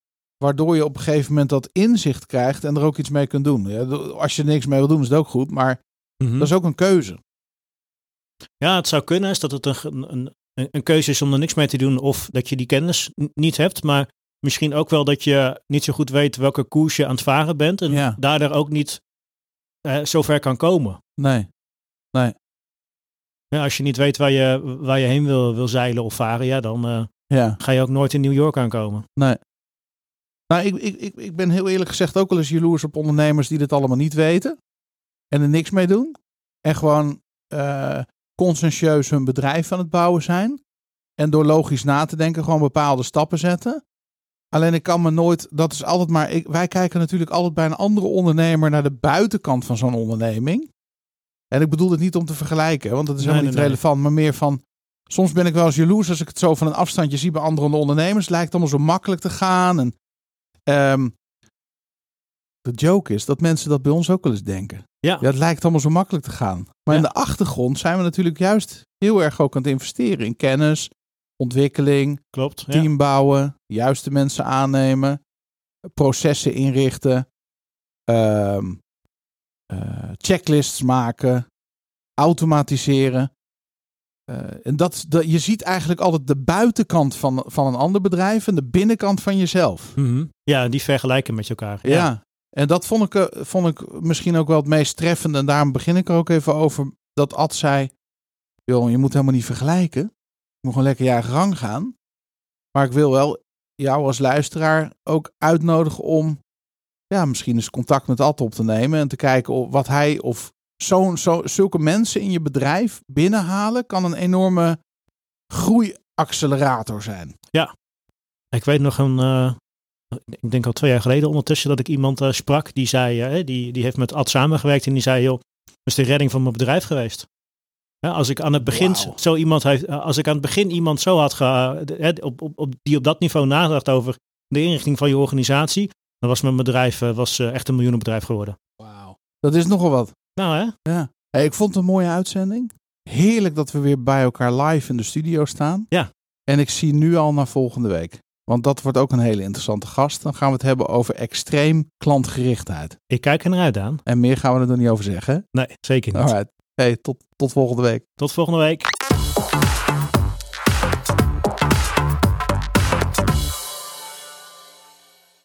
S1: waardoor je op een gegeven moment dat inzicht krijgt en er ook iets mee kunt doen. Ja, als je er niks mee wil doen, is het ook goed, maar
S2: Mhm.
S1: dat is ook een keuze.
S2: Ja, het zou kunnen is dat het een, ge- een, een, een keuze is om er niks mee te doen of dat je die kennis n- niet hebt. Maar misschien ook wel dat je niet zo goed weet welke koers je aan het varen bent en
S1: Ja.
S2: daardoor ook niet eh, zo ver kan komen.
S1: Nee.
S2: Ja, als je niet weet waar je, waar je heen wil, wil zeilen of varen, ja, dan eh,
S1: Ja.
S2: ga je ook nooit in New York aankomen.
S1: Nou, ik, ik, ik, ik ben heel eerlijk gezegd ook wel eens jaloers op ondernemers die dit allemaal niet weten. En er niks mee doen. En gewoon eh, conscientieus hun bedrijf aan het bouwen zijn. En door logisch na te denken gewoon bepaalde stappen zetten. Alleen ik kan me nooit, dat is altijd maar, ik, wij kijken natuurlijk altijd bij een andere ondernemer naar de buitenkant van zo'n onderneming. En ik bedoel het niet om te vergelijken, want dat is
S2: Nee,
S1: helemaal
S2: nee,
S1: niet
S2: nee.
S1: relevant, maar meer van, soms ben ik wel eens jaloers als ik het zo van een afstandje zie bij andere ondernemers. Het lijkt allemaal zo makkelijk te gaan. En, ehm, de joke is dat mensen dat bij ons ook wel eens denken.
S2: Ja,
S1: Ja, het lijkt allemaal zo makkelijk te gaan. Maar in
S2: Ja.
S1: de achtergrond zijn we natuurlijk juist heel erg ook aan het investeren in kennis, ontwikkeling,
S2: klopt. Ja.
S1: team bouwen, juiste mensen aannemen, processen inrichten, ehm, eh, checklists maken, automatiseren. Eh, en dat, dat, je ziet eigenlijk altijd de buitenkant van, van een ander bedrijf en de binnenkant van jezelf.
S2: Mhm. ja, die vergelijken met elkaar.
S1: Ja. En dat vond ik, eh, vond ik misschien ook wel het meest treffende. En daarom begin ik er ook even over. Dat Ad zei, joh, je moet helemaal niet vergelijken. Je moet gewoon lekker je eigen gang gaan. Maar ik wil wel jou als luisteraar ook uitnodigen om... Ja, misschien eens contact met Ad op te nemen. En te kijken of wat hij of zo'n zo, zulke mensen in je bedrijf binnenhalen... kan een enorme groeiaccelerator zijn.
S2: Ik weet nog een, eh, ik denk al twee jaar geleden ondertussen, dat ik iemand eh, sprak die zei, eh, die, die heeft met Ad samengewerkt en die zei, joh, dat is de redding van mijn bedrijf geweest. Ja, als ik aan het begin
S1: Wauw.
S2: zo iemand heeft, eh, als ik aan het begin iemand zo had ge, eh, op, op, op, die op dat niveau nadacht over de inrichting van je organisatie, dan was mijn bedrijf eh, was, eh, echt een miljoenenbedrijf geworden.
S1: Wauw. Dat is nogal wat.
S2: Nou hè?
S1: Hey, ik vond het een mooie uitzending. Heerlijk dat we weer bij elkaar live in de studio staan.
S2: Ja.
S1: En ik zie nu al naar volgende week. Want dat wordt ook een hele interessante gast. Dan gaan we het hebben over extreem klantgerichtheid.
S2: Ik kijk er naar uit aan.
S1: En meer gaan we er nog niet over zeggen.
S2: Nee, zeker niet.
S1: Alright. Hey, tot, tot volgende week.
S2: Tot volgende week.